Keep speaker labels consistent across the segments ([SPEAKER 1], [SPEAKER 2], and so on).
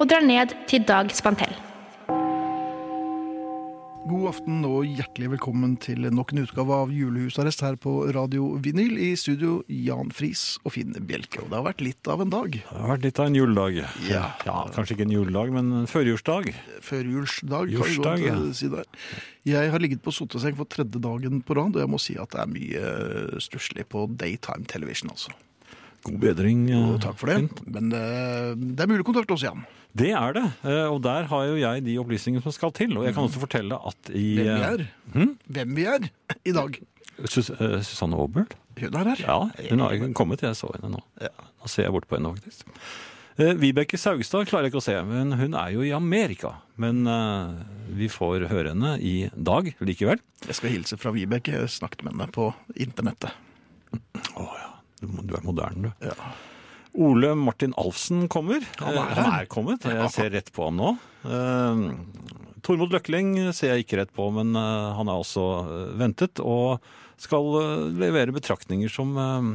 [SPEAKER 1] og drar ned til Dag Spantell.
[SPEAKER 2] God aften og hjertelig velkommen til nok en utgave av Julehusarrest her på Radio Vinyl. I studio Jan Friis og Finn Bjelke. Og det har vært litt av en dag.
[SPEAKER 3] Det har vært litt av en juledag.
[SPEAKER 2] Ja.
[SPEAKER 3] Kanskje ikke en juledag, men en førjulsdag.
[SPEAKER 2] Førjulsdag, kan vi
[SPEAKER 3] Julsdag,
[SPEAKER 2] godt
[SPEAKER 3] ja.
[SPEAKER 2] eh, si der. Jeg har ligget på soteseng for tredje dagen på rad, og jeg må si at det er mye eh, stusslig på daytime television, altså.
[SPEAKER 3] God bedring. eh,
[SPEAKER 2] Og takk for det. Men eh, det er mulig kontakt også, Jan.
[SPEAKER 3] Det er det. Mm. eh, Og der har jo jeg de opplysningene som skal til. Og jeg kan også fortelle at i
[SPEAKER 2] Hvem vi
[SPEAKER 3] eh,
[SPEAKER 2] er. Hvem vi er i dag.
[SPEAKER 3] Sus eh, Susanne Aabel.
[SPEAKER 2] Hun er her.
[SPEAKER 3] Ja, hun har ikke kommet. Jeg så henne nå. Nå ser jeg bort på henne, faktisk. Eh, Vibeke Saugstad klarer jeg ikke å se, men hun er jo i Amerika. Men eh, vi får høre henne i dag likevel.
[SPEAKER 2] Jeg skal hilse fra Vibeke. Jeg snakket med henne på internettet.
[SPEAKER 3] Å ja. Du, må- du er moderne, du.
[SPEAKER 2] Ja.
[SPEAKER 3] Ole Martin Alfsen kommer. Han
[SPEAKER 2] er
[SPEAKER 3] er,
[SPEAKER 2] her.
[SPEAKER 3] han er kommet. Jeg ser rett på ham nå. Eh, Tormod Løkling ser jeg ikke rett på, men eh, han er også eh, ventet. Og skal eh, levere betraktninger som eh,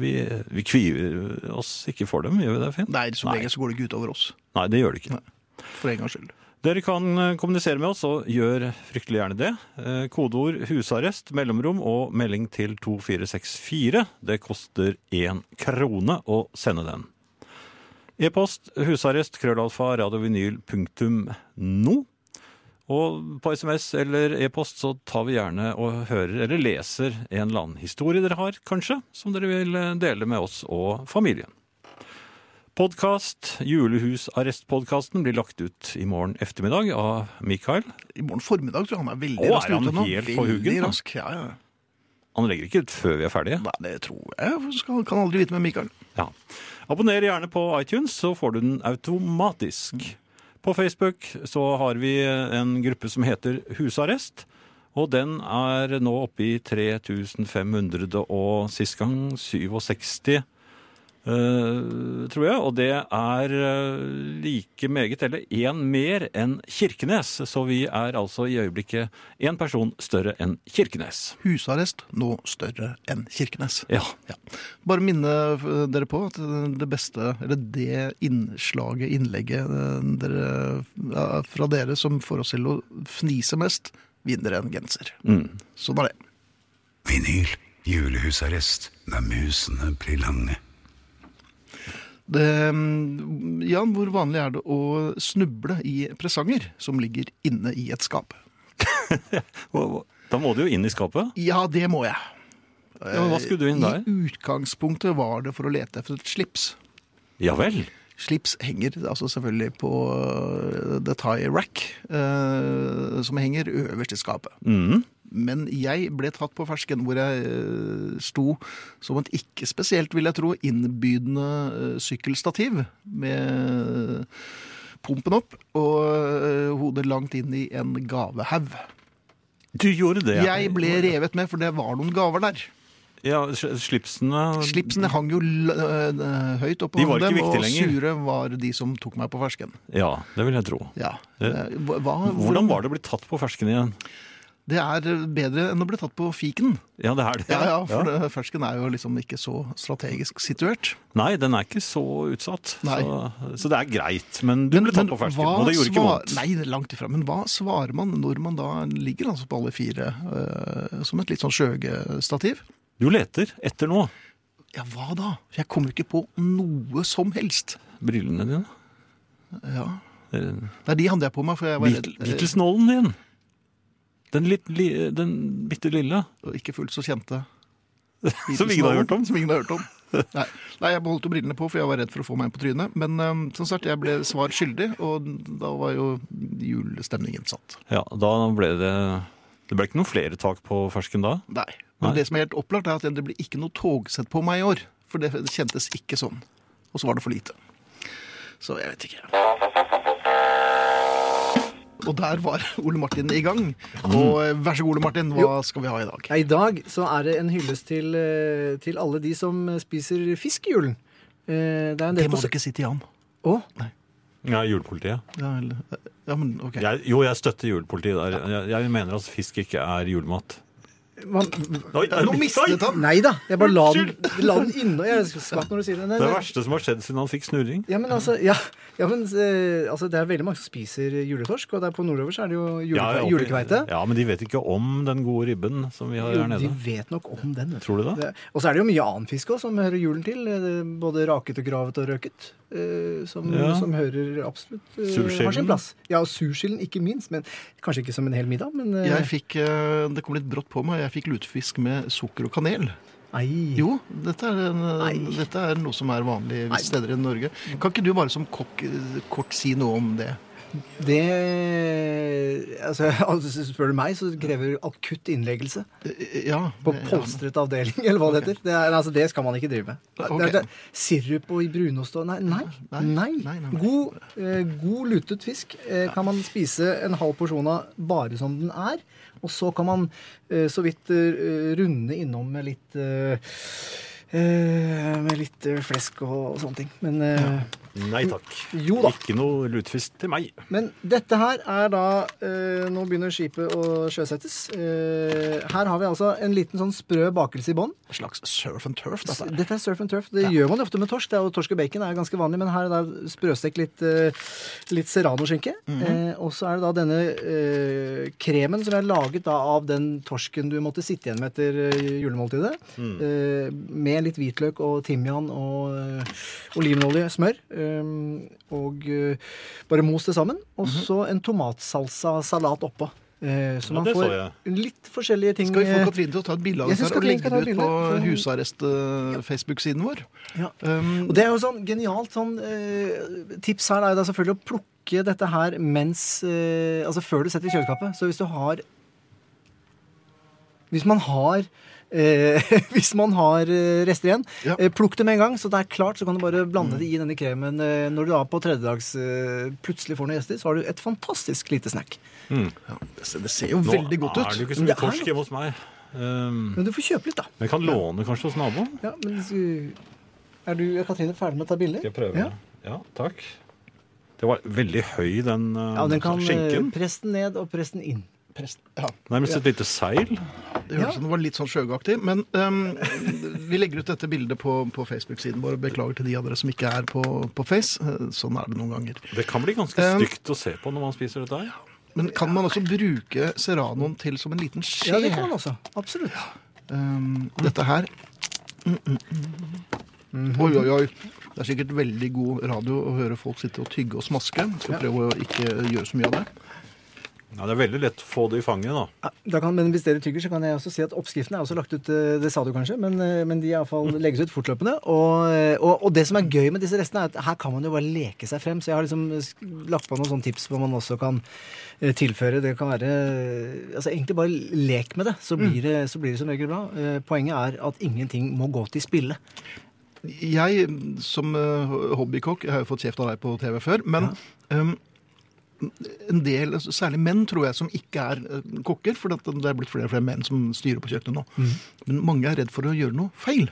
[SPEAKER 3] vi, vi kvier oss ikke for dem, gjør vi det, Finn?
[SPEAKER 2] Nei, som
[SPEAKER 3] Nei.
[SPEAKER 2] regel så går det ikke utover oss.
[SPEAKER 3] Nei, det gjør det ikke.
[SPEAKER 2] For en gangs skyld.
[SPEAKER 3] Dere kan eh, kommunisere med oss, og gjør fryktelig gjerne det. Eh, Kodeord 'husarrest', mellomrom og melding til 2464. Det koster én krone å sende den. E-post husarrest krøllalfa radiovinyl.no. Og på SMS eller e-post så tar vi gjerne og hører eller leser en eller annen historie dere har, kanskje, som dere vil eh, dele med oss og familien. Podkast, Julehusarrestpodkasten, blir lagt ut i morgen eftermiddag av Mikael.
[SPEAKER 2] I morgen formiddag tror jeg han er veldig
[SPEAKER 3] Å, er
[SPEAKER 2] rask
[SPEAKER 3] han
[SPEAKER 2] ute nå.
[SPEAKER 3] helt på
[SPEAKER 2] Veldig
[SPEAKER 3] huggen, da?
[SPEAKER 2] rask, ja, ja.
[SPEAKER 3] Han legger ikke ut før vi er ferdige.
[SPEAKER 2] Nei, det tror jeg. Jeg Skal, kan aldri vite med Mikael.
[SPEAKER 3] Ja. Abonner gjerne på iTunes, så får du den automatisk. På Facebook så har vi en gruppe som heter Husarrest. Og den er nå oppe i 3500 og sist gang 67, eh, tror jeg. Og det er eh, like meget, eller én mer, enn Kirkenes. Så vi er altså i øyeblikket én person større enn Kirkenes.
[SPEAKER 2] Husarrest nå større enn Kirkenes.
[SPEAKER 3] Ja.
[SPEAKER 2] Ja. Bare minne eh, dere på at eh, det beste, eller det innslaget, innlegget eh, dere, ja, fra dere som får oss til å fnise mest, vinner en genser.
[SPEAKER 3] Mm.
[SPEAKER 2] Sånn er det.
[SPEAKER 4] Vinyl. Julehusarrest når musene blir lange.
[SPEAKER 2] det. mm, Jan, hvor vanlig er det å snuble i presanger som ligger inne i et skap?
[SPEAKER 3] Og- og- Da må du jo inn i skapet.
[SPEAKER 2] Ja, det må jeg.
[SPEAKER 3] Ja, men hva skulle du inn der?
[SPEAKER 2] I utgangspunktet var det for å lete etter et slips.
[SPEAKER 3] Ja vel.
[SPEAKER 2] Slips henger altså selvfølgelig på øh, the tie rack, øh, som henger øverst i skapet.
[SPEAKER 3] Mm.
[SPEAKER 2] Men jeg ble tatt på fersken, hvor jeg øh, sto som et ikke spesielt, vil jeg tro, innbydende øh, sykkelstativ med pumpen opp og øh, hodet langt inn i en gavehaug.
[SPEAKER 3] Du gjorde det.
[SPEAKER 2] Jeg ble revet med, for det var noen gaver der.
[SPEAKER 3] Ja, sl- slipsene
[SPEAKER 2] Slipsene hang jo l- øh, høyt oppe
[SPEAKER 3] De var
[SPEAKER 2] over
[SPEAKER 3] ikke
[SPEAKER 2] dem, og
[SPEAKER 3] viktige lenger.
[SPEAKER 2] sure var de som tok meg på fersken.
[SPEAKER 3] Ja, det vil jeg tro.
[SPEAKER 2] Ja.
[SPEAKER 3] Eh,
[SPEAKER 2] Eh, Hva,
[SPEAKER 3] Hvordan var det å bli tatt på fersken igjen?
[SPEAKER 2] Det er øh, bedre enn å bli tatt på fiken.
[SPEAKER 3] Ja, det er det.
[SPEAKER 2] Ja, ja, for det- fersken er jo liksom ikke så strategisk situert.
[SPEAKER 3] Nei, den er ikke så utsatt.
[SPEAKER 2] Nei.
[SPEAKER 3] Så, så det er greit. Men du ble tatt på fersken,
[SPEAKER 2] hva
[SPEAKER 3] og det gjorde ikke
[SPEAKER 2] svar-
[SPEAKER 3] vondt.
[SPEAKER 2] Nei, langt ifra. Men hva svarer man når man da ligger altså på alle fire eh, som et litt sånn skjøgestativ?
[SPEAKER 3] Du leter etter noe.
[SPEAKER 2] Ja, hva da? Jeg kommer ikke på noe som helst.
[SPEAKER 3] Brillene dine.
[SPEAKER 2] Ja.
[SPEAKER 3] Eh,
[SPEAKER 2] Nei, de hadde jeg på meg, for jeg var
[SPEAKER 3] Beat-
[SPEAKER 2] redd. eh,
[SPEAKER 3] Beatles-nålen din. Den, litt, li, den bitte lille.
[SPEAKER 2] og Ikke fullt så kjente.
[SPEAKER 3] Som ingen har hørt om.
[SPEAKER 2] Som ingen har hørt om. Nei. Nei, jeg beholdt jo brillene på, for jeg var redd for å få meg en på trynet. Men um, som sagt, jeg ble svar skyldig, og da var jo julestemningen satt.
[SPEAKER 3] Ja, da ble det Det ble ikke noen flere tak på fersken da?
[SPEAKER 2] Nei. Men
[SPEAKER 3] Nei.
[SPEAKER 2] det som er helt opplagt, er at det blir ikke noe togsett på meg i år. For det kjentes ikke sånn. Og så var det for lite. Så jeg vet ikke. Og der var Ole Martin i gang. Og eh, vær så god, Ole Martin, hva skal vi ha i dag?
[SPEAKER 5] Ja, I dag så er det en hyllest til, eh, til alle de som spiser fisk i julen. Eh, Det er en
[SPEAKER 2] Det
[SPEAKER 5] del
[SPEAKER 2] må
[SPEAKER 5] på
[SPEAKER 2] du ikke si til Jan.
[SPEAKER 5] Å,
[SPEAKER 3] Ja, julepolitiet.
[SPEAKER 2] Ja, eller- ja, men ok.
[SPEAKER 3] Jeg, jo, jeg støtter julepolitiet der. Jeg, jeg mener at fisk ikke er julemat.
[SPEAKER 5] hva-
[SPEAKER 3] Oi,
[SPEAKER 2] Nå mistet han!
[SPEAKER 5] Nei da, jeg bare la den, la den inne. Jeg er skvatt når du sier det. Nei,
[SPEAKER 3] Det er det
[SPEAKER 5] nei.
[SPEAKER 3] verste som har skjedd siden han fikk snurring.
[SPEAKER 5] Ja, men altså, ja, ja, men, eh, altså Det er veldig mange som spiser juletorsk, og der på nordover så er det jo jule,
[SPEAKER 3] Ja, ja,
[SPEAKER 5] julekveite.
[SPEAKER 3] Ja, men de vet ikke om den gode ribben som vi har
[SPEAKER 5] Jo,
[SPEAKER 3] her
[SPEAKER 5] de
[SPEAKER 3] nede.
[SPEAKER 5] vet nok om den. vet du.
[SPEAKER 3] Tror du det?
[SPEAKER 5] Det- Og så er det jo mye annen fisk òg som hører julen til. eh, Både raket og gravet og røket. eh, Som,
[SPEAKER 3] Ja.
[SPEAKER 5] som hører absolutt eh, har
[SPEAKER 3] Surskillen.
[SPEAKER 5] sin plass. Ja, og surskillen ikke minst. Men kanskje ikke som en hel middag, men eh,
[SPEAKER 2] Jeg fikk, eh, det kom litt brått på meg, jeg fikk lutefisk med sukker og kanel.
[SPEAKER 5] Ei.
[SPEAKER 2] Jo, dette er, en, eh,
[SPEAKER 5] Nei.
[SPEAKER 2] dette er noe som er vanlig visse steder i Norge. Kan ikke du bare som kokk eh, kort si noe om det?
[SPEAKER 5] Det altså, altså, Spør du meg, så krever akutt innleggelse.
[SPEAKER 2] Eh, Ja.
[SPEAKER 5] På
[SPEAKER 2] det-
[SPEAKER 5] polstret avdeling, eller hva det heter. Det, er, altså, det skal man ikke drive med. Det,
[SPEAKER 2] Ok.
[SPEAKER 5] er- det, er- sirup og i brunost og Nei. nei,
[SPEAKER 2] Nei,
[SPEAKER 5] nei.
[SPEAKER 2] nei, nei, nei.
[SPEAKER 5] God, eh, god lutet fisk eh, kan man spise en halv porsjon av bare som den er. Og så kan man eh, så vidt eh, runde innom med litt eh, eh, med litt eh, flesk og, og sånne ting. Men, eh,
[SPEAKER 3] Nei takk.
[SPEAKER 5] Jo da.
[SPEAKER 3] Ikke noe lutefisk til meg.
[SPEAKER 5] men dette her er da eh, Nå begynner skipet å sjøsettes. Eh, her har vi altså en liten sånn sprø bakelse i bånn.
[SPEAKER 2] En slags surf and turf, dette. er.
[SPEAKER 5] Dette er surf and turf. Det gjør man jo ofte med torsk. Det er jo Torsk og bacon er jo ganske vanlig, men her er det sprøstekt litt, eh, litt serranoskinke. eh, og så er det da denne eh, kremen som er laget da av den torsken du måtte sitte igjen med etter eh, julemåltidet. Eh, med litt hvitløk og timian og eh, olivenolje, smør. eh, og eh, bare mos det sammen. Og så en tomatsalsa-salat oppå. Eh, så
[SPEAKER 3] Ja,
[SPEAKER 5] man
[SPEAKER 3] det så
[SPEAKER 5] får litt forskjellige ting.
[SPEAKER 2] Skal vi
[SPEAKER 5] eh,
[SPEAKER 2] få Katrine til å ta et bilde av
[SPEAKER 5] Jeg
[SPEAKER 2] dette
[SPEAKER 5] synes
[SPEAKER 2] her og
[SPEAKER 5] Katrine
[SPEAKER 2] legge
[SPEAKER 5] skal
[SPEAKER 2] det ut
[SPEAKER 5] ta et
[SPEAKER 2] på eh,
[SPEAKER 5] bilde, for-
[SPEAKER 2] husarrest-Facebook-siden vår?
[SPEAKER 5] Ja.
[SPEAKER 2] Um,
[SPEAKER 5] Og det er jo sånn genialt sånn eh, tips her er jo da selvfølgelig å plukke dette her mens eh, Altså før du setter i kjøleskapet. Så hvis du har Hvis man har eh, Hvis man har eh, rester igjen,
[SPEAKER 2] Ja.
[SPEAKER 5] eh, plukk det med en gang, så det er klart. Så kan du bare blande det i denne kremen. eh, når du da på tredjedags eh, plutselig får noen gjester, så har du et fantastisk lite snack.
[SPEAKER 2] det ser- det ser jo
[SPEAKER 3] Nå
[SPEAKER 2] veldig godt
[SPEAKER 3] er det jo
[SPEAKER 2] ut.
[SPEAKER 3] ikke så
[SPEAKER 5] Men
[SPEAKER 3] mye
[SPEAKER 5] det er
[SPEAKER 3] torsk
[SPEAKER 5] jo-
[SPEAKER 3] hjemme hos meg. Um,
[SPEAKER 5] Men du får kjøpe litt, da.
[SPEAKER 3] men jeg kan låne kanskje hos naboen.
[SPEAKER 5] Ja, men eh, er du Katrine ferdig med å ta bilder?
[SPEAKER 3] Skal jeg prøve?
[SPEAKER 5] Ja.
[SPEAKER 3] Ja, takk. Det var veldig høy, den, eh,
[SPEAKER 5] Ja, den kan
[SPEAKER 3] skinken.
[SPEAKER 5] eh, press den ned og press den inn.
[SPEAKER 2] Prest- Ja,
[SPEAKER 3] Nærmest et lite seil.
[SPEAKER 2] det høres ut som det var litt sånn sjøgaktig. Men um, vi legger ut dette bildet på, på Facebook-siden vår. Beklager til de av dere som ikke er på, på Face. Eh, Sånn er det noen ganger.
[SPEAKER 3] Det kan bli ganske
[SPEAKER 5] Ehm.
[SPEAKER 2] Um,
[SPEAKER 3] stygt å se på når man spiser dette her.
[SPEAKER 2] Men kan man også bruke serranoen til som en liten skje?
[SPEAKER 5] Ja, det kan man også. Absolutt.
[SPEAKER 2] Um, dette her Mm, mm,
[SPEAKER 5] Mhm.
[SPEAKER 2] mm. Oi, oi, oi. Det er sikkert veldig god radio å høre folk sitte og tygge og smaske. Skal prøve å ikke gjøre så mye av det.
[SPEAKER 3] Ja, det er veldig lett å få det i fanget, da.
[SPEAKER 5] Ja, Da kan, men hvis dere tygger, så kan jeg også si at oppskriftene er også lagt ut. eh, Det sa du kanskje, men, eh, men de i alle fall legges ut fortløpende. Og, eh, og, og det som er gøy med disse restene, er at her kan man jo bare leke seg frem. Så jeg har liksom sk- lagt på noen sånne tips hvor man også kan eh, tilføre. Det kan være eh, Altså egentlig bare lek med det, så blir det, så blir det som regel bra. Eh, Poenget er at ingenting må gå til spille.
[SPEAKER 2] Jeg som eh, hobbykokk, jeg har jo fått kjeft av deg på TV før, men um, en del, altså, særlig menn, tror jeg, som ikke er eh, kokker, for det det er blitt flere og flere menn som styrer på kjøkkenet nå.
[SPEAKER 5] Mm.
[SPEAKER 2] Men mange er redd for å gjøre noe feil.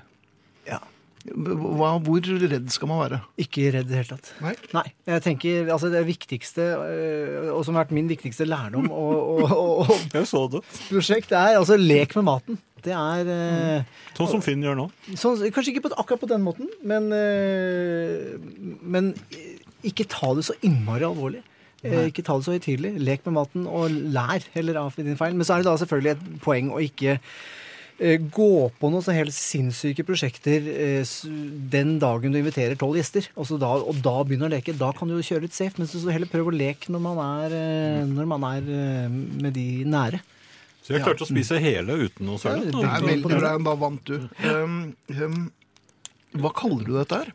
[SPEAKER 2] Hva, hvor redd skal man være?
[SPEAKER 5] Ikke redd i det hele tatt.
[SPEAKER 2] Nei.
[SPEAKER 5] Nei. Jeg tenker, altså Det viktigste, eh, og som har vært min viktigste lærdom og, og, og, og
[SPEAKER 3] Jeg så det.
[SPEAKER 5] prosjekt er altså lek med maten. Det er eh,
[SPEAKER 3] Sånn som Finn gjør nå.
[SPEAKER 5] sånn, Kanskje ikke på, akkurat på den måten, men, eh, men eh, ikke ta det så innmari alvorlig. Eh, Ikke ta det så høytidelig. Lek med maten og lær heller av din feil. Men så er det da selvfølgelig et poeng å ikke eh, eh, gå på noen så helt sinnssyke prosjekter eh, s- den dagen du inviterer tolv gjester, og, så da, og da begynner å leke. Da kan du jo kjøre litt safe, mens du så heller prøver å leke når man er, eh, når man er eh, med de nære.
[SPEAKER 3] Så jeg klarte å spise hele uten noe søle.
[SPEAKER 5] Ja,
[SPEAKER 2] Det er veldig bra, da vant du. Um, um, hva kaller du dette her?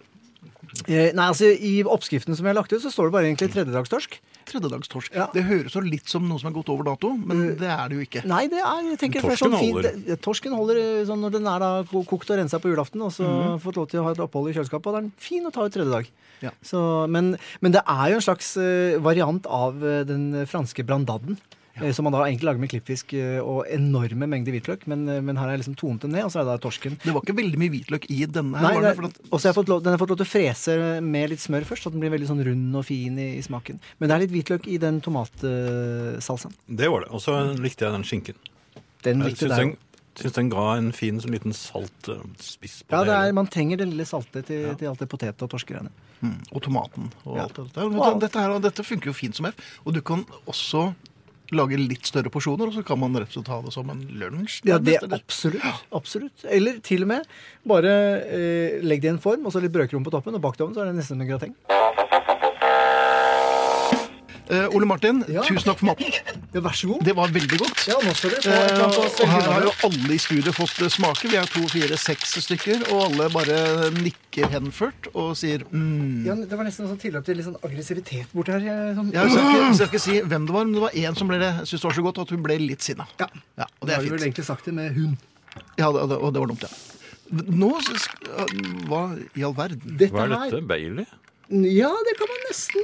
[SPEAKER 5] Eh, Nei, altså I oppskriften som jeg har lagt ut, så står det bare egentlig tredjedagstorsk.
[SPEAKER 2] Tredjedagstorsk.
[SPEAKER 5] Ja. Mm.
[SPEAKER 2] Det høres jo litt som noe som er gått over dato, men det er det jo ikke.
[SPEAKER 5] Nei, det er, jeg tenker, for det er
[SPEAKER 3] Torsken
[SPEAKER 5] sånn fin,
[SPEAKER 3] holder.
[SPEAKER 5] det- Torsken holder eh, sånn når den er da ko- kokt og rensa på julaften, og så
[SPEAKER 3] Mhm.
[SPEAKER 5] fått lov til å ha et opphold i kjøleskapet, og da er den fin å ta ut tredje dag.
[SPEAKER 2] Ja.
[SPEAKER 5] Så, men, men det er jo en slags eh, variant av eh, den franske brandadden. eh, Som man da egentlig lager med klippfisk eh, og enorme mengder hvitløk. Men, eh, men her er liksom tonet den ned, og så er det da torsken.
[SPEAKER 2] Det var ikke veldig mye hvitløk i denne her.
[SPEAKER 5] Nei,
[SPEAKER 2] var
[SPEAKER 5] det
[SPEAKER 2] det, for at,
[SPEAKER 5] er- og så har jeg fått lov, den har fått lov til å frese med litt smør først, så den blir veldig sånn rund og fin i, i smaken. Men det er litt hvitløk i den tomatsalsaen.
[SPEAKER 3] Det var det. Og så likte jeg den skinken.
[SPEAKER 5] Den
[SPEAKER 3] Jeg
[SPEAKER 5] likte
[SPEAKER 3] syns
[SPEAKER 5] deg.
[SPEAKER 3] den, syns den ga en fin sånn liten salt eh, spiss på
[SPEAKER 5] Ja, det
[SPEAKER 3] det.
[SPEAKER 5] er,
[SPEAKER 3] hele.
[SPEAKER 5] man trenger det lille saltet til, til alt det potet- og torskegreiene.
[SPEAKER 2] mm, og tomaten og
[SPEAKER 5] Ja.
[SPEAKER 2] alt det der. Dette, dette, her, dette funker jo fint som F. Og du kan også lage litt større porsjoner, og så kan man rett og slett ha det som en lunsj.
[SPEAKER 5] Ja, det
[SPEAKER 2] nærmest, eller?
[SPEAKER 5] absolutt. absolutt. Eller til og med bare eh, legg det i en form, og så litt brødkrom på toppen, og bak det i ovnen, så er det nesten som en grateng.
[SPEAKER 2] Eh, Ole Martin,
[SPEAKER 5] Ja.
[SPEAKER 2] tusen takk for maten.
[SPEAKER 5] Ja, vær så god.
[SPEAKER 2] Det var veldig godt.
[SPEAKER 5] Ja, nå skal dere få et
[SPEAKER 2] Eh,
[SPEAKER 5] eller annet
[SPEAKER 2] Og
[SPEAKER 5] å
[SPEAKER 2] her
[SPEAKER 5] svelge
[SPEAKER 2] har jo
[SPEAKER 5] unna.
[SPEAKER 2] alle i studio fått eh, smake. Vi er to, fire, seks stykker, og alle bare nikker henført og sier mm.
[SPEAKER 5] Ja, det var nesten en sånn tilløp til litt sånn aggressivitet borti her. jeg- Sånn,
[SPEAKER 2] Jeg skal, ikke, jeg skal ikke si hvem det var, men det var én som ble, syntes det var så godt at hun ble litt sinna.
[SPEAKER 5] Ja.
[SPEAKER 2] og det
[SPEAKER 5] Da
[SPEAKER 2] er
[SPEAKER 5] har du vel
[SPEAKER 2] fint.
[SPEAKER 5] egentlig sagt det med hund.
[SPEAKER 2] Ja, det, det- og det var dumt, ja. Nå s- sk- Hva i all verden?
[SPEAKER 5] Dette
[SPEAKER 3] Hva er
[SPEAKER 5] her-
[SPEAKER 3] dette? Bailey?
[SPEAKER 5] Ja, det kan man nesten,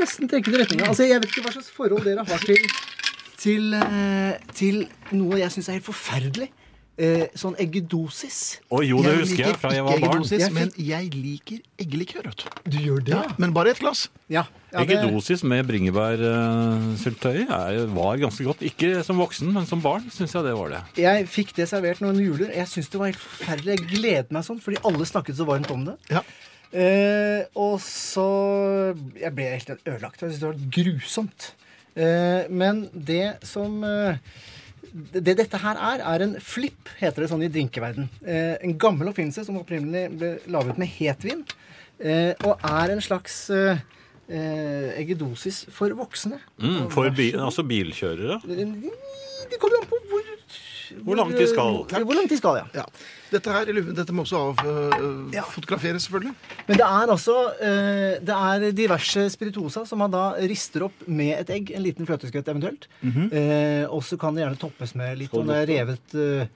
[SPEAKER 5] nesten tenke til retninga. Altså, jeg vet ikke hva slags forhold dere har til, til, eh, til noe jeg syns er helt forferdelig. Eh, sånn eggedosis.
[SPEAKER 3] Å jo, det
[SPEAKER 2] Jeg
[SPEAKER 3] husker
[SPEAKER 2] liker
[SPEAKER 3] jeg fra jeg
[SPEAKER 2] ikke
[SPEAKER 3] var barn.
[SPEAKER 2] eggedosis,
[SPEAKER 5] Jeg
[SPEAKER 2] Men jeg liker eggelikør, vet du.
[SPEAKER 5] Du gjør det?
[SPEAKER 2] Ja, men bare ett glass.
[SPEAKER 5] Ja. ja, det-
[SPEAKER 3] Eggedosis med eh, bringebærsyltetøy er- var ganske godt. Ikke som voksen, men som barn syns jeg det var det.
[SPEAKER 5] Jeg fikk det servert noen juler. Jeg syns det var helt forferdelig. Jeg gledet meg sånn, fordi alle snakket så varmt om det.
[SPEAKER 2] Ja.
[SPEAKER 5] Eh, og så Jeg ble helt ødelagt. Jeg syntes det var grusomt. Eh, men det som eh, det, det dette her er, er en flip, heter det sånn i drinkeverden. Eh, en gammel oppfinnelse som opprinnelig ble laget med hetvin. Eh, og er en slags eh, eh, eggedosis for voksne.
[SPEAKER 3] Mm, for bi altså bilkjørere.
[SPEAKER 5] Det kommer an på hvor
[SPEAKER 3] Hvor langt de skal.
[SPEAKER 5] Hvor langt de skal, ja.
[SPEAKER 2] ja. Dette her, eller, dette må også avfotograferes, øh, fotograferes, selvfølgelig.
[SPEAKER 5] Men det er altså eh, Det er diverse spirituosa som man da rister opp med et egg. En liten fløteskvett eventuelt.
[SPEAKER 2] Mhm.
[SPEAKER 5] eh, og så kan det gjerne toppes med litt om det er revet eh,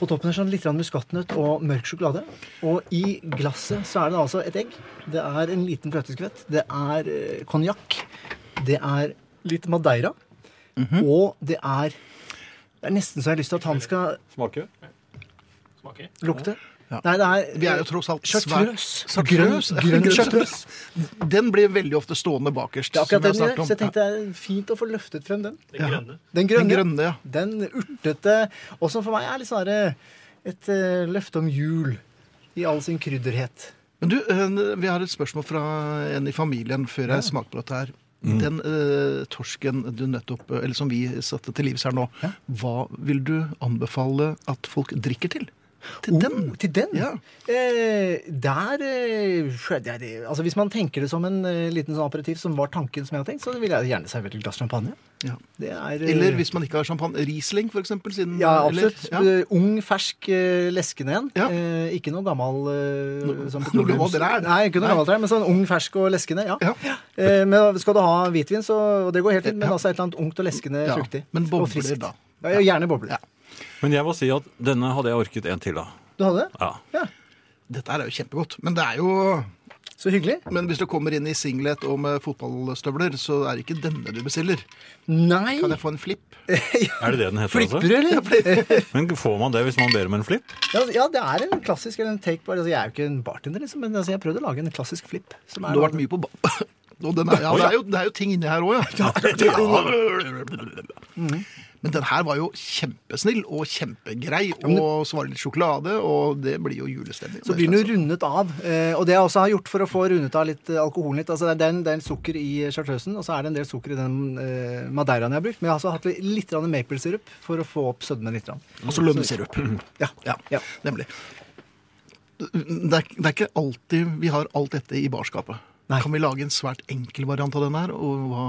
[SPEAKER 5] På toppen er sånn litt grann muskatnøtt og mørk sjokolade. Og i glasset så er det altså et egg. Det er en liten fløteskvett. Det er eh, konjakk. Det er litt madeira.
[SPEAKER 2] Mhm.
[SPEAKER 5] Og det er Det er nesten så jeg har lyst til at han skal
[SPEAKER 3] Smaker?
[SPEAKER 5] lukte.
[SPEAKER 2] Ja.
[SPEAKER 5] Nei, det er
[SPEAKER 2] Vi er jo tross alt
[SPEAKER 5] Chartreuse.
[SPEAKER 2] svært-
[SPEAKER 5] Grønn,
[SPEAKER 2] Chartreuse.
[SPEAKER 5] grønn
[SPEAKER 2] Grønn
[SPEAKER 5] chartreuse.
[SPEAKER 2] Den blir veldig ofte stående bakerst.
[SPEAKER 5] Det er
[SPEAKER 2] som
[SPEAKER 5] akkurat den
[SPEAKER 2] vi har
[SPEAKER 5] gjør,
[SPEAKER 2] snakket om.
[SPEAKER 5] så jeg tenkte det er fint å få løftet frem den.
[SPEAKER 2] Ja. Ja.
[SPEAKER 5] Den
[SPEAKER 2] Den
[SPEAKER 5] grønne.
[SPEAKER 2] grønne, ja.
[SPEAKER 5] Den urtete. Og som for meg er litt sånn her, et eh, løfte om jul i all sin krydderhet.
[SPEAKER 2] Men du, eh, vi har et spørsmål fra en i familien før jeg smaker på dette her.
[SPEAKER 3] Mm.
[SPEAKER 2] Den eh, torsken du nettopp, eh, eller som vi satte til livs her nå, hva vil du anbefale at folk drikker til? Til den?
[SPEAKER 5] Oh, til den?
[SPEAKER 2] Ja.
[SPEAKER 5] Eh, der eh, sjø- det er det- Altså Hvis man tenker det som en eh, liten sånn aperitiv, som var tanken som jeg hadde tenkt, så ville jeg gjerne servert et glass champagne.
[SPEAKER 2] Ja.
[SPEAKER 5] Det er, eh,
[SPEAKER 2] Eller hvis man ikke har champagne, Riesling for eksempel? Siden,
[SPEAKER 5] ja,
[SPEAKER 2] eller-
[SPEAKER 5] absolutt.
[SPEAKER 2] ja.
[SPEAKER 5] Eh, Ung, fersk, eh, leskende en.
[SPEAKER 2] Ja.
[SPEAKER 5] Eh, ikke noe gammel eh, sånn
[SPEAKER 2] noe gammel ræl.
[SPEAKER 5] Nei, ikke noe
[SPEAKER 2] Nei.
[SPEAKER 5] gammel trær, men sånn ung, fersk og leskende. Ja.
[SPEAKER 2] Ja.
[SPEAKER 5] Eh, men skal du ha hvitvin, så og det går helt fint, men
[SPEAKER 2] Ja.
[SPEAKER 5] altså et eller annet ungt og leskende
[SPEAKER 2] Ja,
[SPEAKER 5] fruktig.
[SPEAKER 2] men bobler
[SPEAKER 5] og friskt.
[SPEAKER 2] da.
[SPEAKER 5] Ja, ja, gjerne bobler.
[SPEAKER 3] Men jeg må si at denne hadde jeg orket en til av.
[SPEAKER 5] Du hadde det?
[SPEAKER 3] Ja.
[SPEAKER 5] Ja.
[SPEAKER 2] Dette her er jo kjempegodt, men det er jo
[SPEAKER 5] Så hyggelig.
[SPEAKER 2] Men hvis du kommer inn i singlet og med fotballstøvler, så er det ikke denne du bestiller.
[SPEAKER 5] Nei!
[SPEAKER 2] Kan jeg få en flipp?
[SPEAKER 3] Er det det den heter?
[SPEAKER 5] Flipper Eh, du, eller?
[SPEAKER 3] Altså? Men får man det hvis man ber om en flipp?
[SPEAKER 5] Ja, altså, ja, det er en klassisk eller en take bar. Altså, jeg er jo ikke en bartender, liksom, men altså, jeg prøvde å lage en klassisk flip. Som
[SPEAKER 2] Du har vært mye på ba... Og den er, ja, det, er jo, det er jo ting inni her òg, ja. Men den her var jo kjempesnill og kjempegrei, og så var det litt sjokolade, og det blir jo julestemning.
[SPEAKER 5] Så blir den jo rundet av. eh, Og det jeg også har gjort for å få rundet av litt eh, alkoholen litt, altså det er, det er en del sukker i charteusen, og så er det en del sukker i den eh, madeiraen jeg har brukt. Men jeg har også hatt litt, litt grann maple-sirup for å få opp sødmen litt. grann.
[SPEAKER 2] Og så lønnesirup.
[SPEAKER 5] Ja.
[SPEAKER 2] Ja,
[SPEAKER 5] Ja.
[SPEAKER 2] nemlig. Det er, det er ikke alltid vi har alt dette i barskapet.
[SPEAKER 5] Nei.
[SPEAKER 2] Kan vi lage en svært enkel variant av den her? Og hva,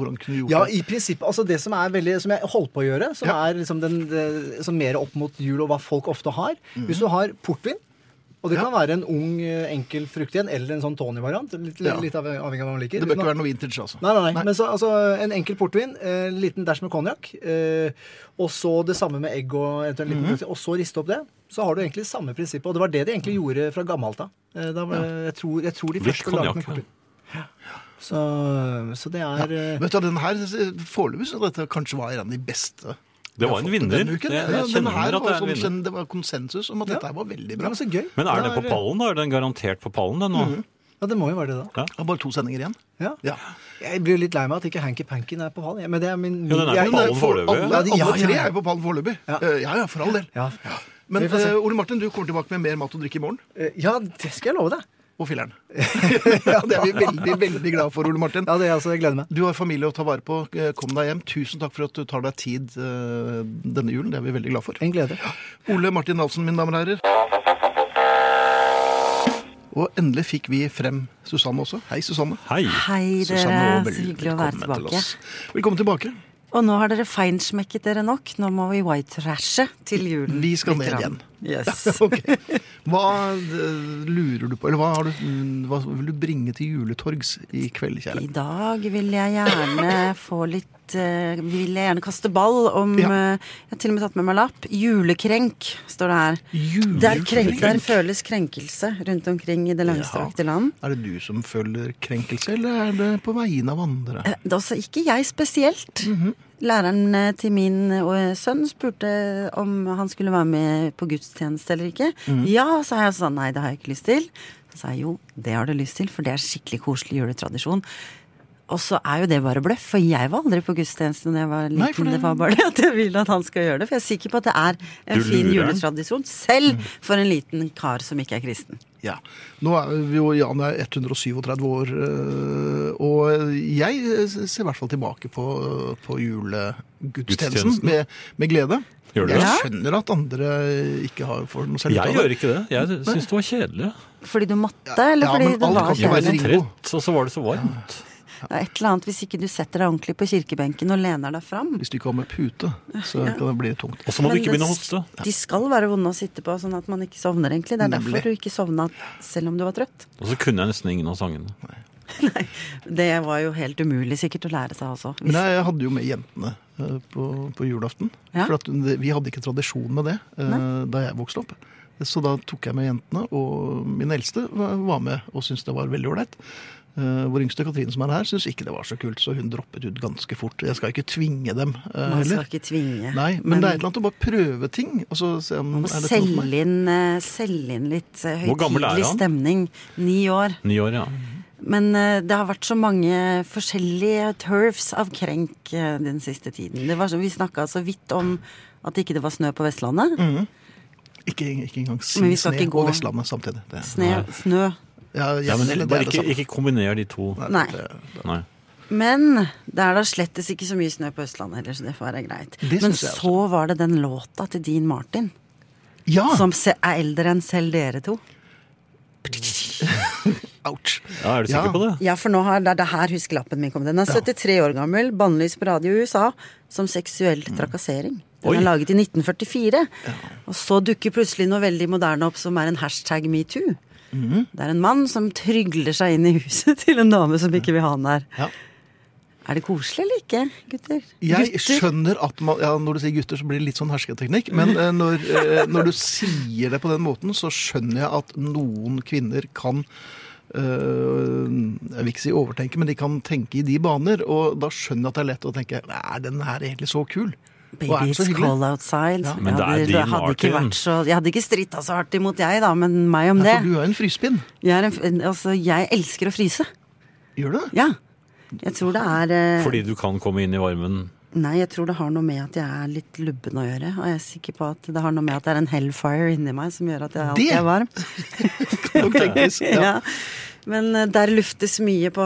[SPEAKER 2] hvordan kunne vi gjort
[SPEAKER 5] Ja,
[SPEAKER 2] det?
[SPEAKER 5] i prinsippet. Altså det som er veldig, som jeg holdt på å gjøre, som
[SPEAKER 2] Ja.
[SPEAKER 5] er liksom den, det, som mer opp mot jul og hva folk ofte har. Hvis du har portvin, og det
[SPEAKER 2] Mhm. Ja.
[SPEAKER 5] kan være en ung, eh, enkel frukt igjen, eller en sånn Tony-variant. Litt,
[SPEAKER 2] Ja.
[SPEAKER 5] litt av- avhengig av hva man
[SPEAKER 2] Det
[SPEAKER 5] liker. Hvis
[SPEAKER 2] bør
[SPEAKER 5] man-
[SPEAKER 2] ikke være noe vintage, altså.
[SPEAKER 5] Nei, nei, nei. Men så, altså, en enkel portvin, eh, en liten dæsj med konjakk, eh, og så det samme med egg og eventuelt en liten pølse, og så riste opp det. Så har du egentlig samme prinsippet, og det var det de egentlig gjorde fra gammelt av. Eh, da var- jeg, tror, jeg tror de
[SPEAKER 3] Litt
[SPEAKER 5] første laget med
[SPEAKER 3] konjakk, ja.
[SPEAKER 5] portvin. Så, så det er eh,
[SPEAKER 2] Vet du, den her, Foreløpig så dette kanskje var en av de beste.
[SPEAKER 3] Det var en
[SPEAKER 2] jeg har fått
[SPEAKER 3] vinner.
[SPEAKER 2] denne uken.
[SPEAKER 3] Det- jeg
[SPEAKER 2] Ja, den
[SPEAKER 3] kjenner
[SPEAKER 2] her
[SPEAKER 3] at det
[SPEAKER 2] var
[SPEAKER 3] er en
[SPEAKER 2] sånn
[SPEAKER 3] vinner.
[SPEAKER 2] kjenn- Det var konsensus om at dette her var veldig
[SPEAKER 5] ja,
[SPEAKER 2] bra.
[SPEAKER 5] men så gøy.
[SPEAKER 3] Men er
[SPEAKER 5] Da
[SPEAKER 3] den
[SPEAKER 2] eh,
[SPEAKER 3] på pallen, da? Er den garantert på pallen, den nå?
[SPEAKER 2] Mhm.
[SPEAKER 5] Ja, det må jo være det, da.
[SPEAKER 2] Det var bare to sendinger igjen.
[SPEAKER 5] Ja.
[SPEAKER 2] Ja.
[SPEAKER 5] Jeg blir jo litt lei meg at ikke Hanky Panky er på pallen. jeg, Men det er min
[SPEAKER 3] Jo, den er
[SPEAKER 5] jeg-
[SPEAKER 3] på pallen
[SPEAKER 5] for-
[SPEAKER 3] foreløpig.
[SPEAKER 2] eh, Alle,
[SPEAKER 5] Ja, de- ja,
[SPEAKER 2] alle tre
[SPEAKER 5] ja.
[SPEAKER 2] er jo på pallen foreløpig.
[SPEAKER 5] Ja.
[SPEAKER 2] Eh, Ja, ja, for all del.
[SPEAKER 5] Ja.
[SPEAKER 2] Men
[SPEAKER 5] Vi får se.
[SPEAKER 2] eh, Ole Martin, du kommer tilbake med mer mat og drikke i morgen.
[SPEAKER 5] Eh, ja, det skal jeg love deg.
[SPEAKER 2] Og filler'n. ja, det er vi veldig, veldig glad for, Ole Martin.
[SPEAKER 5] Ja, det er altså, Jeg gleder meg.
[SPEAKER 2] Du har familie å ta vare på. Eh, Kom deg hjem. Tusen takk for at du tar deg tid eh, denne julen. Det er vi veldig glad for.
[SPEAKER 5] En glede.
[SPEAKER 2] Ole Martin Nalsen, mine damer og herrer. Og endelig fikk vi frem Susanne også. Hei, Susanne.
[SPEAKER 3] Hei.
[SPEAKER 6] Hei, dere.
[SPEAKER 2] Susanne,
[SPEAKER 6] Så hyggelig å være
[SPEAKER 2] velkommen til
[SPEAKER 6] tilbake.
[SPEAKER 2] oss. Velkommen tilbake.
[SPEAKER 6] Og nå har dere feinschmekket dere nok. Nå må vi white-rashe til julen.
[SPEAKER 2] Vi skal
[SPEAKER 6] litt
[SPEAKER 2] ned
[SPEAKER 6] grann.
[SPEAKER 2] igjen.
[SPEAKER 6] Yes.
[SPEAKER 2] Ok. Hva eh, lurer du på, eller hva, har du, mm, hva vil du bringe til juletorgs i kveld, kjære?
[SPEAKER 6] I dag vil jeg gjerne få litt eh, Vil jeg gjerne kaste ball om
[SPEAKER 2] Ja.
[SPEAKER 6] eh, Jeg har til og med tatt med meg lapp. Julekrenk, står det her.
[SPEAKER 2] Julekrenk?
[SPEAKER 6] Der, krenk, der føles krenkelse rundt omkring i det langstrakte land.
[SPEAKER 2] Er det du som føler krenkelse, eller er det på vegne av andre?
[SPEAKER 6] Det er altså ikke jeg spesielt.
[SPEAKER 2] Mhm.
[SPEAKER 6] Læreren eh, til min eh, sønn spurte om han skulle være med på gudstjeneste eller ikke.
[SPEAKER 2] Mhm.
[SPEAKER 6] Ja, sa jeg. Så sa han nei, det har jeg ikke lyst til. Så sa jeg jo, det har du lyst til, for det er skikkelig koselig juletradisjon. Og så er jo det bare bløff, for jeg var aldri på gudstjeneste da jeg var liten.
[SPEAKER 2] Nei, for
[SPEAKER 6] det...
[SPEAKER 2] det-
[SPEAKER 6] var bare det at jeg vil at han skal gjøre det, for jeg er sikker på at det er en
[SPEAKER 3] Du
[SPEAKER 6] fin
[SPEAKER 3] lurer han.
[SPEAKER 6] juletradisjon, selv
[SPEAKER 2] Mm.
[SPEAKER 6] for en liten kar som ikke er kristen.
[SPEAKER 2] Ja. Nå er vi jo Jan er 137 år, øh, og jeg eh, ser i hvert fall tilbake på, eh, på julegudstjenesten
[SPEAKER 3] Gudstjenesten.
[SPEAKER 2] med, med glede.
[SPEAKER 3] Gjør du
[SPEAKER 2] jeg
[SPEAKER 3] det?
[SPEAKER 2] skjønner at andre ikke har får noe selv ut
[SPEAKER 3] Jeg
[SPEAKER 2] av
[SPEAKER 3] gjør
[SPEAKER 2] det.
[SPEAKER 3] ikke det. Jeg syns det var kjedelig.
[SPEAKER 6] Fordi du måtte, eller
[SPEAKER 2] ja,
[SPEAKER 6] fordi
[SPEAKER 2] men
[SPEAKER 6] det
[SPEAKER 2] alle
[SPEAKER 6] var
[SPEAKER 2] kan ikke være
[SPEAKER 6] kjærlighet?
[SPEAKER 2] Ringo.
[SPEAKER 3] Trett, og så var det så varmt.
[SPEAKER 6] Det er et eller annet hvis ikke du setter deg ordentlig på kirkebenken og lener deg fram.
[SPEAKER 2] Hvis du ikke har med pute, så kan det bli tungt.
[SPEAKER 3] Og så må du
[SPEAKER 6] Men
[SPEAKER 3] ikke begynne å
[SPEAKER 6] det-
[SPEAKER 3] hoste.
[SPEAKER 6] De skal være vonde å sitte på, sånn at man ikke sovner, egentlig. Det er derfor
[SPEAKER 2] Nemlig.
[SPEAKER 6] du ikke sovna selv om du var trøtt.
[SPEAKER 3] Og så kunne jeg nesten ingen av sangene.
[SPEAKER 6] Det var jo helt umulig sikkert å lære seg også. Hvis-
[SPEAKER 2] Men jeg, jeg hadde jo med jentene øh, på, på julaften.
[SPEAKER 6] Ja.
[SPEAKER 2] For at det- vi hadde ikke tradisjon med det øh, da jeg vokste opp. Så da tok jeg med jentene, og min eldste var var med og syntes det var veldig ålreit. Eh, Vår yngste Katrine som er her, syntes ikke det var så kult, så hun droppet ut ganske fort. Jeg skal ikke tvinge dem eh,
[SPEAKER 6] man skal
[SPEAKER 2] heller.
[SPEAKER 6] ikke tvinge.
[SPEAKER 2] Nei, men, det er et eller annet å bare prøve ting. Og så se om
[SPEAKER 6] man må
[SPEAKER 2] er dette noe for meg?
[SPEAKER 6] selge inn, eh, selge inn litt eh,
[SPEAKER 3] Hvor gammel er
[SPEAKER 6] høytidelig
[SPEAKER 3] han?
[SPEAKER 6] stemning. Ni år.
[SPEAKER 3] Ni år, ja.
[SPEAKER 6] Men eh, det har vært så mange forskjellige turfs av krenk eh, den siste tiden. Det var så, vi snakka så vidt om at ikke det var snø på Vestlandet.
[SPEAKER 2] Ikke, ikke engang si
[SPEAKER 6] Men vi skal
[SPEAKER 2] sne
[SPEAKER 6] ikke gå-
[SPEAKER 2] og Vestlandet samtidig. Det,
[SPEAKER 6] Sne, snø.
[SPEAKER 2] ja, ja,
[SPEAKER 3] ja men
[SPEAKER 2] eller det
[SPEAKER 3] bare
[SPEAKER 2] er det
[SPEAKER 3] ikke,
[SPEAKER 2] samme.
[SPEAKER 3] ikke kombiner de to.
[SPEAKER 6] Nei.
[SPEAKER 3] Nei.
[SPEAKER 6] Men det er da slettes ikke så mye snø på Østlandet heller, så det får være greit.
[SPEAKER 2] Det
[SPEAKER 6] Men
[SPEAKER 2] synes jeg også. Ah.
[SPEAKER 6] så var det den låta til Dean Martin,
[SPEAKER 2] Ja!
[SPEAKER 6] som se- er eldre enn selv dere to.
[SPEAKER 2] Ouch.
[SPEAKER 3] Ja, er du sikker
[SPEAKER 2] Ja.
[SPEAKER 3] på det?
[SPEAKER 6] Ja, for nå har, det er det her huskelappen min kom. Den er 73 år gammel, bannlyst på radio i USA som seksuell
[SPEAKER 2] Mm.
[SPEAKER 6] trakassering. Den
[SPEAKER 3] Oi.
[SPEAKER 6] er laget i 1944. Og så dukker plutselig noe veldig moderne opp som er en hashtag metoo.
[SPEAKER 2] Mm.
[SPEAKER 6] Det er en mann som trygler seg inn i huset til en dame som ikke vil ha han der.
[SPEAKER 2] Ja.
[SPEAKER 6] Er det koselig eller ikke, gutter?
[SPEAKER 2] Jeg
[SPEAKER 6] gutter?
[SPEAKER 2] skjønner at man, ja, Når du sier gutter, så blir det litt sånn hersketeknikk. Men eh, når, eh, når du sier det på den måten, så skjønner jeg at noen kvinner kan eh, Jeg vil ikke si overtenke, men de kan tenke i de baner. Og da skjønner jeg at det er lett å tenke Er den her egentlig så kul? Og er
[SPEAKER 6] Baby,
[SPEAKER 2] den så
[SPEAKER 6] it's
[SPEAKER 2] hyggelig?
[SPEAKER 6] cold outside.
[SPEAKER 2] Ja.
[SPEAKER 3] Men det er
[SPEAKER 6] jeg, hadde,
[SPEAKER 3] Dean
[SPEAKER 6] jeg hadde ikke
[SPEAKER 3] Martin.
[SPEAKER 6] vært så, jeg hadde ikke stritta så hardt imot jeg, da, men meg om
[SPEAKER 2] Ja,
[SPEAKER 6] det.
[SPEAKER 2] for du er jo en frysepinn.
[SPEAKER 6] Jeg, er en, en- altså, jeg elsker å fryse.
[SPEAKER 2] Gjør du det?
[SPEAKER 6] Ja. Jeg tror det er eh,
[SPEAKER 3] Fordi du kan komme inn i varmen
[SPEAKER 5] Nei, jeg tror det har noe med at jeg er litt lubben å gjøre. Og jeg er sikker på at det har noe med at det er en hellfire inni meg som gjør at jeg alltid
[SPEAKER 2] Det!
[SPEAKER 5] er varm.
[SPEAKER 2] Nok teknisk. Ja.
[SPEAKER 5] ja. Men eh, der luftes mye på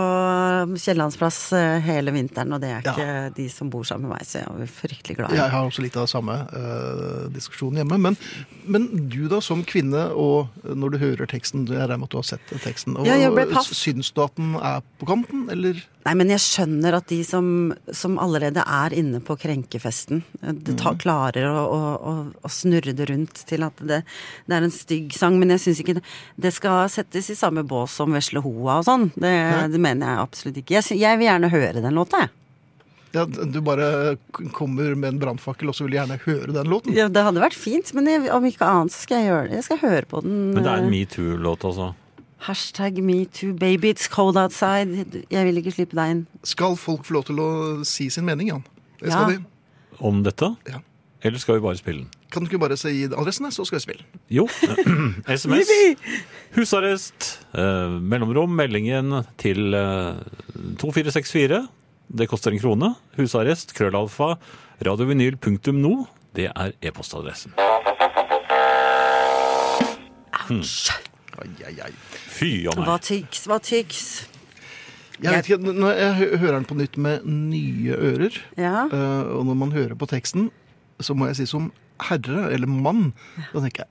[SPEAKER 5] Kiellandsplass eh, hele vinteren, og det er ikke de som bor sammen med meg, så jeg er fryktelig glad. i.
[SPEAKER 2] Jeg har også litt av samme eh, diskusjon hjemme. Men, men du da, som kvinne, og når du hører teksten Jeg regner med at du har sett teksten. Og,
[SPEAKER 5] Ja, jeg ble paff.
[SPEAKER 2] Syns du at den er på kanten, eller?
[SPEAKER 5] Nei, men jeg skjønner at de som, som allerede er inne på krenkefesten, eh, det
[SPEAKER 3] Mhm.
[SPEAKER 5] ta, klarer å, å, å, å snurre det rundt til at det, det er en stygg sang. Men jeg syns ikke det, det skal settes i samme bås som Vesle Hoa og sånn. Det, det mener jeg absolutt ikke. Jeg, sy- jeg vil gjerne høre den låta, jeg.
[SPEAKER 2] Ja, du bare k- kommer med en brannfakkel, og så vil jeg gjerne høre den låten.
[SPEAKER 5] Ja, det hadde vært fint, men jeg, om ikke annet så skal jeg gjøre det. Jeg skal høre på den.
[SPEAKER 3] Men det er
[SPEAKER 5] eh,
[SPEAKER 3] en metoo-låt, altså.
[SPEAKER 5] Hashtag metoo, baby, it's cold outside. Jeg vil ikke slippe deg inn.
[SPEAKER 2] Skal folk få lov til å si sin mening, Jan? Det skal
[SPEAKER 5] Ja.
[SPEAKER 2] de.
[SPEAKER 3] Om dette?
[SPEAKER 2] Ja.
[SPEAKER 3] Eller skal vi bare spille den?
[SPEAKER 2] Kan du ikke bare si adressen, så skal vi spille?
[SPEAKER 3] Jo. SMS. Husarrest. Eh, mellomrom. Meldingen til eh, 2464. Det koster en krone. Husarrest. Krøllalfa. Radiovinyl.no. Det er e-postadressen. Mm.
[SPEAKER 2] Ai, ai, ai.
[SPEAKER 3] Fy a
[SPEAKER 5] Hva
[SPEAKER 3] meg.
[SPEAKER 5] tyks, hva tyks.
[SPEAKER 2] Jeg vet ikke, når jeg hø- hører den på nytt med nye ører,
[SPEAKER 5] Ja.
[SPEAKER 2] eh, og når man hører på teksten, så må jeg si som herre eller mann, da tenker jeg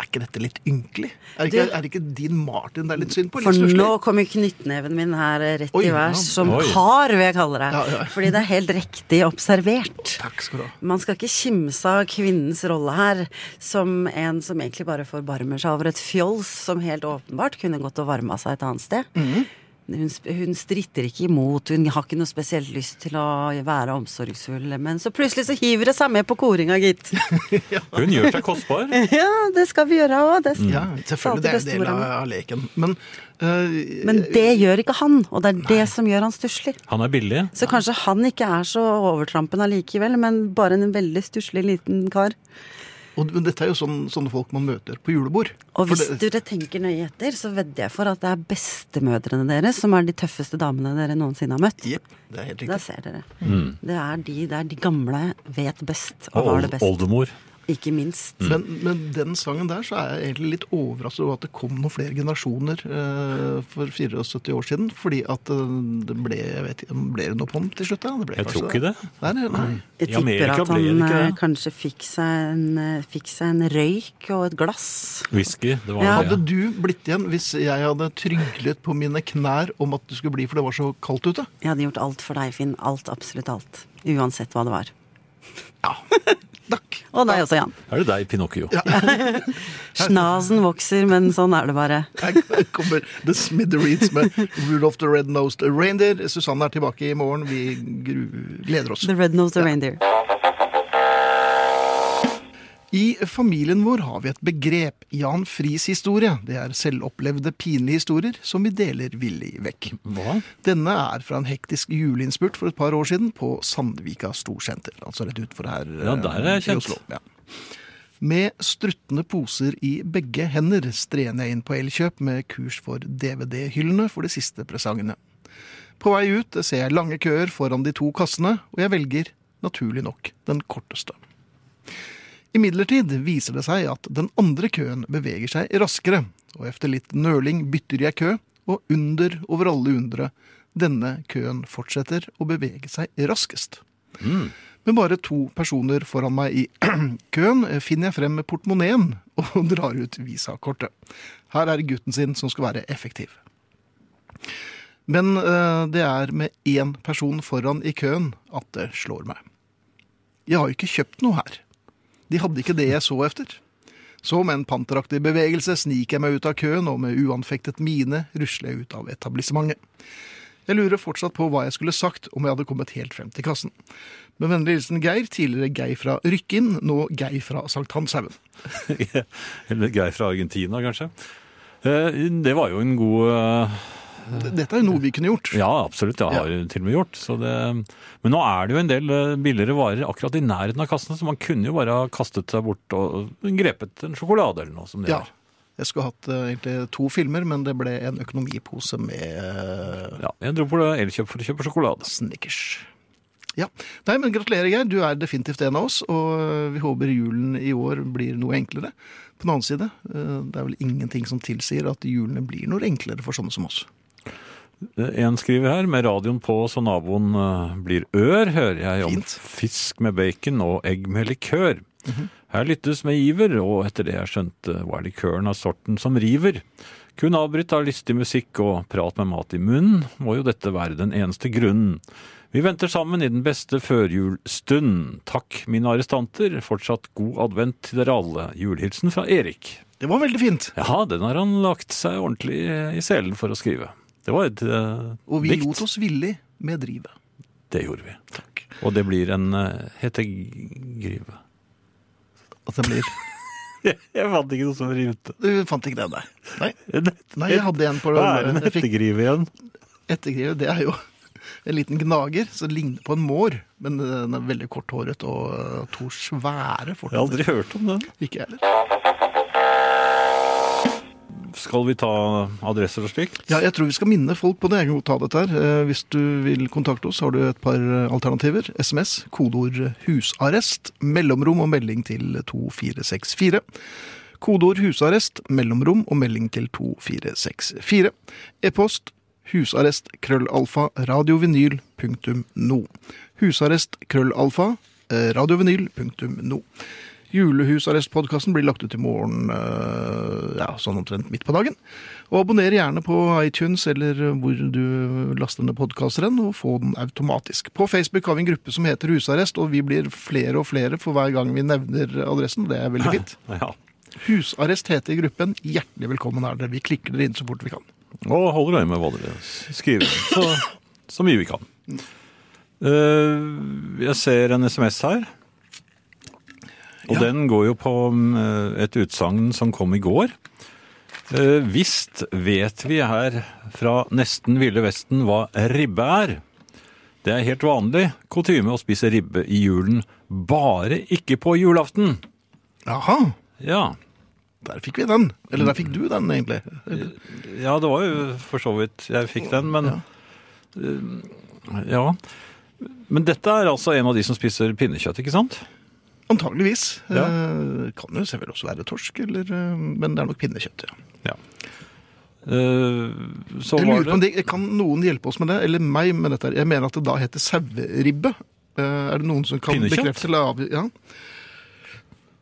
[SPEAKER 2] er ikke dette litt ynkelig? Er ikke,
[SPEAKER 5] Du-
[SPEAKER 2] er ikke din Martin det er litt synd på? Litt
[SPEAKER 5] For nå
[SPEAKER 2] stusslig?
[SPEAKER 5] kommer knyttneven min her eh, rett
[SPEAKER 2] Oi,
[SPEAKER 5] i
[SPEAKER 2] ja.
[SPEAKER 5] værs, som
[SPEAKER 3] Oi.
[SPEAKER 5] har, vil jeg kalle det.
[SPEAKER 2] Ja, ja.
[SPEAKER 5] Fordi det er helt riktig observert.
[SPEAKER 2] Takk skal du ha.
[SPEAKER 5] Man skal ikke kimse av kvinnens rolle her, som en som egentlig bare forbarmer seg over et fjols som helt åpenbart kunne gått og varma seg et annet sted.
[SPEAKER 2] Mhm.
[SPEAKER 5] Hun, sp- hun stritter ikke imot, hun har ikke noe spesielt lyst til å være omsorgsfull, men så plutselig så hiver det seg med på koringa, gitt.
[SPEAKER 3] Hun gjør seg kostbar.
[SPEAKER 5] Eh. ja, det skal vi gjøre òg. Det skal
[SPEAKER 2] Mm. Ja, selvfølgelig, det er en del av, av leken. Men eh,
[SPEAKER 5] Men det gjør ikke han, og det er det som gjør han stusslig.
[SPEAKER 3] Han er billig.
[SPEAKER 5] Så kanskje han ikke er så overtrampen allikevel, men bare en veldig stusslig liten kar.
[SPEAKER 2] og, men dette er jo sånn, sånne folk man møter på julebord.
[SPEAKER 5] Og
[SPEAKER 2] For
[SPEAKER 5] hvis
[SPEAKER 2] det-
[SPEAKER 5] dere tenker nøye etter, så vedder jeg for at det er bestemødrene deres som er de tøffeste damene dere noensinne har møtt.
[SPEAKER 2] Jepp, det er helt
[SPEAKER 5] Da
[SPEAKER 2] riktig.
[SPEAKER 5] ser dere. Det, er de, det er de gamle vet best og
[SPEAKER 3] Mm. Og
[SPEAKER 5] har
[SPEAKER 3] old-
[SPEAKER 5] det best.
[SPEAKER 3] oldemor.
[SPEAKER 5] Ikke
[SPEAKER 3] Mm.
[SPEAKER 5] minst.
[SPEAKER 2] Men, men den sangen der så er jeg egentlig litt overrasket over at det kom noen flere generasjoner eh, for 74 år siden. Fordi at eh, det ble jeg vet, ikke, ble det noe på den til slutt? Da? Det ble
[SPEAKER 3] Jeg
[SPEAKER 2] kanskje
[SPEAKER 3] tror ikke det.
[SPEAKER 2] Nei, nei, nei.
[SPEAKER 5] Jeg
[SPEAKER 3] I
[SPEAKER 5] tipper
[SPEAKER 3] Amerika
[SPEAKER 5] at
[SPEAKER 3] ble
[SPEAKER 5] han
[SPEAKER 3] det ikke
[SPEAKER 5] eh,
[SPEAKER 3] det.
[SPEAKER 5] kanskje fikk seg, en, eh, fikk seg en røyk og et glass.
[SPEAKER 3] Whisky. Det var
[SPEAKER 5] Ja.
[SPEAKER 2] Hadde
[SPEAKER 3] det.
[SPEAKER 2] du blitt igjen hvis jeg hadde tryglet på mine knær om at du skulle bli, for det var så kaldt ute?
[SPEAKER 5] Jeg hadde gjort alt for deg, Finn. Alt, absolutt alt. Uansett hva det var.
[SPEAKER 2] Takk.
[SPEAKER 5] Og deg også, Jan.
[SPEAKER 3] Er det deg, Pinocchio?
[SPEAKER 5] Snasen vokser, men sånn er det bare.
[SPEAKER 2] Her kommer The Smithereens med Rudolph the Red-Nosed Reindeer. Susanne er tilbake i morgen. Vi gru- gleder oss.
[SPEAKER 5] The Red-Nosed Reindeer.
[SPEAKER 2] I familien vår har vi et begrep, Jan Friis historie. Det er selvopplevde pinlige historier som vi deler villig vekk.
[SPEAKER 3] Hva?
[SPEAKER 2] Denne er fra en hektisk juleinnspurt for et par år siden på Sandvika storsenter. Altså rett utfor her
[SPEAKER 3] Ja, der er
[SPEAKER 2] eh,
[SPEAKER 3] jeg
[SPEAKER 2] i
[SPEAKER 3] kjent.
[SPEAKER 2] Oslo. Ja. Med struttende poser i begge hender strener jeg inn på Elkjøp med kurs for DVD-hyllene for de siste presangene. På vei ut ser jeg lange køer foran de to kassene, og jeg velger, naturlig nok, den korteste. Imidlertid viser det seg at den andre køen beveger seg raskere, og efter litt nøling bytter jeg kø, og under over alle undre, denne køen fortsetter å bevege seg raskest. Med bare to personer foran meg i køen finner jeg frem portemoneen og drar ut visakortet. Her er gutten sin som skal være effektiv. Men eh, det er med én person foran i køen at det slår meg. Jeg har jo ikke kjøpt noe her. De hadde ikke det jeg så efter. Så med en panteraktig bevegelse sniker jeg meg ut av køen, og med uanfektet mine rusler jeg ut av etablissementet. Jeg lurer fortsatt på hva jeg skulle sagt om jeg hadde kommet helt frem til kassen. Med vennlig hilsen Geir, tidligere Geir fra Rykkinn, nå Geir fra Sankthanshaugen.
[SPEAKER 3] Eller Geir fra Argentina, kanskje? Eh, Det var jo en god eh,
[SPEAKER 2] D- Dette er jo noe vi kunne gjort.
[SPEAKER 3] Ja, absolutt. Det har jeg til og med gjort. Så det, men nå er det jo en del eh, billigere varer akkurat i nærheten av kassene, så man kunne jo bare ha kastet seg bort og grepet en sjokolade eller noe som det
[SPEAKER 2] Ja.
[SPEAKER 3] er.
[SPEAKER 2] Jeg skulle hatt eh, egentlig to filmer, men det ble en økonomipose med eh,
[SPEAKER 3] Ja, jeg dro på det Elkjøp for å kjøpe sjokolade.
[SPEAKER 2] Snickers. Ja. Nei, men gratulerer, Geir. Du er definitivt en av oss. Og eh, vi håper julen i år blir noe enklere. På den annen side, eh, det er vel ingenting som tilsier at julene blir noe enklere for sånne som oss.
[SPEAKER 3] En skriver her, med radioen på så naboen eh, blir ør, hører jeg om
[SPEAKER 2] Fint.
[SPEAKER 3] fisk med bacon og egg med likør. Her lyttes med iver, og etter det jeg skjønte var likøren av sorten som river. Kun avbryt av lystig musikk og prat med mat i munnen, må jo dette være den eneste grunnen. Vi venter sammen i den beste førjulstund. Takk, mine arrestanter. Fortsatt god advent til dere alle. Julehilsen fra Erik.
[SPEAKER 2] Det var veldig fint!
[SPEAKER 3] Ja, den har han lagt seg ordentlig eh, i selen for å skrive. Det var et eh,
[SPEAKER 2] Og vi
[SPEAKER 3] dikt.
[SPEAKER 2] lot oss villig med drivet.
[SPEAKER 3] Det gjorde vi. Og det blir en uh, hetegrive.
[SPEAKER 2] At det blir
[SPEAKER 3] Jeg, fant ikke noe som rimte.
[SPEAKER 2] Du fant ikke den, nei. Nei,
[SPEAKER 3] Nei,
[SPEAKER 2] nei jeg hadde en på
[SPEAKER 3] Hva er en
[SPEAKER 2] jeg fikk
[SPEAKER 3] hetegrive igjen?
[SPEAKER 2] ettergrive. Det er jo en liten gnager som ligner på en mår, men eh, den er veldig korthåret og eh, to svære
[SPEAKER 3] Jeg har aldri
[SPEAKER 2] fortenner.
[SPEAKER 3] hørt om den.
[SPEAKER 2] Ikke jeg heller.
[SPEAKER 3] Skal vi ta adresser og slikt?
[SPEAKER 2] Ja, jeg tror vi skal minne folk på det. Jeg kan godt ta dette her. Eh, Hvis du vil kontakte oss, har du et par eh, alternativer. SMS, kodeord eh, 'husarrest', mellomrom og melding til 2464. Kodeord 'husarrest', mellomrom og melding til 2464. E-post husarrest krøllalfa radiovinyl punktum no. Husarrest krøllalfa eh, radiovinyl punktum no. Julehusarrestpodkasten blir lagt ut i morgen eh, ja, sånn omtrent midt på dagen. Og abonner gjerne på iTunes eller hvor du laster ned podkaster hen, og få den automatisk. På Facebook har vi en gruppe som heter Husarrest, og vi blir flere og flere for hver gang vi nevner adressen. og Det er veldig fint.
[SPEAKER 3] Ja.
[SPEAKER 2] Husarrest heter gruppen. Hjertelig velkommen er dere. Vi klikker dere inn så fort vi kan.
[SPEAKER 3] Og holder øye med hva dere skriver. Så, så mye vi kan. Eh, jeg ser en SMS her. Og den går jo på mm, et utsagn som kom i går. Eh, visst vet vi her fra nesten Ville Vesten hva ribbe er. Det er helt vanlig kutyme å spise ribbe i julen, bare ikke på julaften.
[SPEAKER 2] Jaha,
[SPEAKER 3] Ja.
[SPEAKER 2] der fikk vi den. Eller der
[SPEAKER 3] Mm.
[SPEAKER 2] fikk du den, egentlig.
[SPEAKER 3] Ja, det var jo for så vidt jeg fikk den, men Eh, ja. Men dette er altså en av de som spiser pinnekjøtt, ikke sant?
[SPEAKER 2] Antageligvis.
[SPEAKER 3] Ja.
[SPEAKER 2] Eh, Kan jo selvfølgelig også være torsk, eller, eh, men det er nok pinnekjøtt. ja.
[SPEAKER 3] Eh, så
[SPEAKER 2] Jeg
[SPEAKER 3] var
[SPEAKER 2] lurer på om
[SPEAKER 3] det
[SPEAKER 2] det, Kan noen hjelpe oss med det, eller meg med dette? her? Jeg mener at det da heter saueribbe. Eh, Er det noen som kan
[SPEAKER 3] Pinnekjøtt?
[SPEAKER 2] bekrefte eller av... Ja.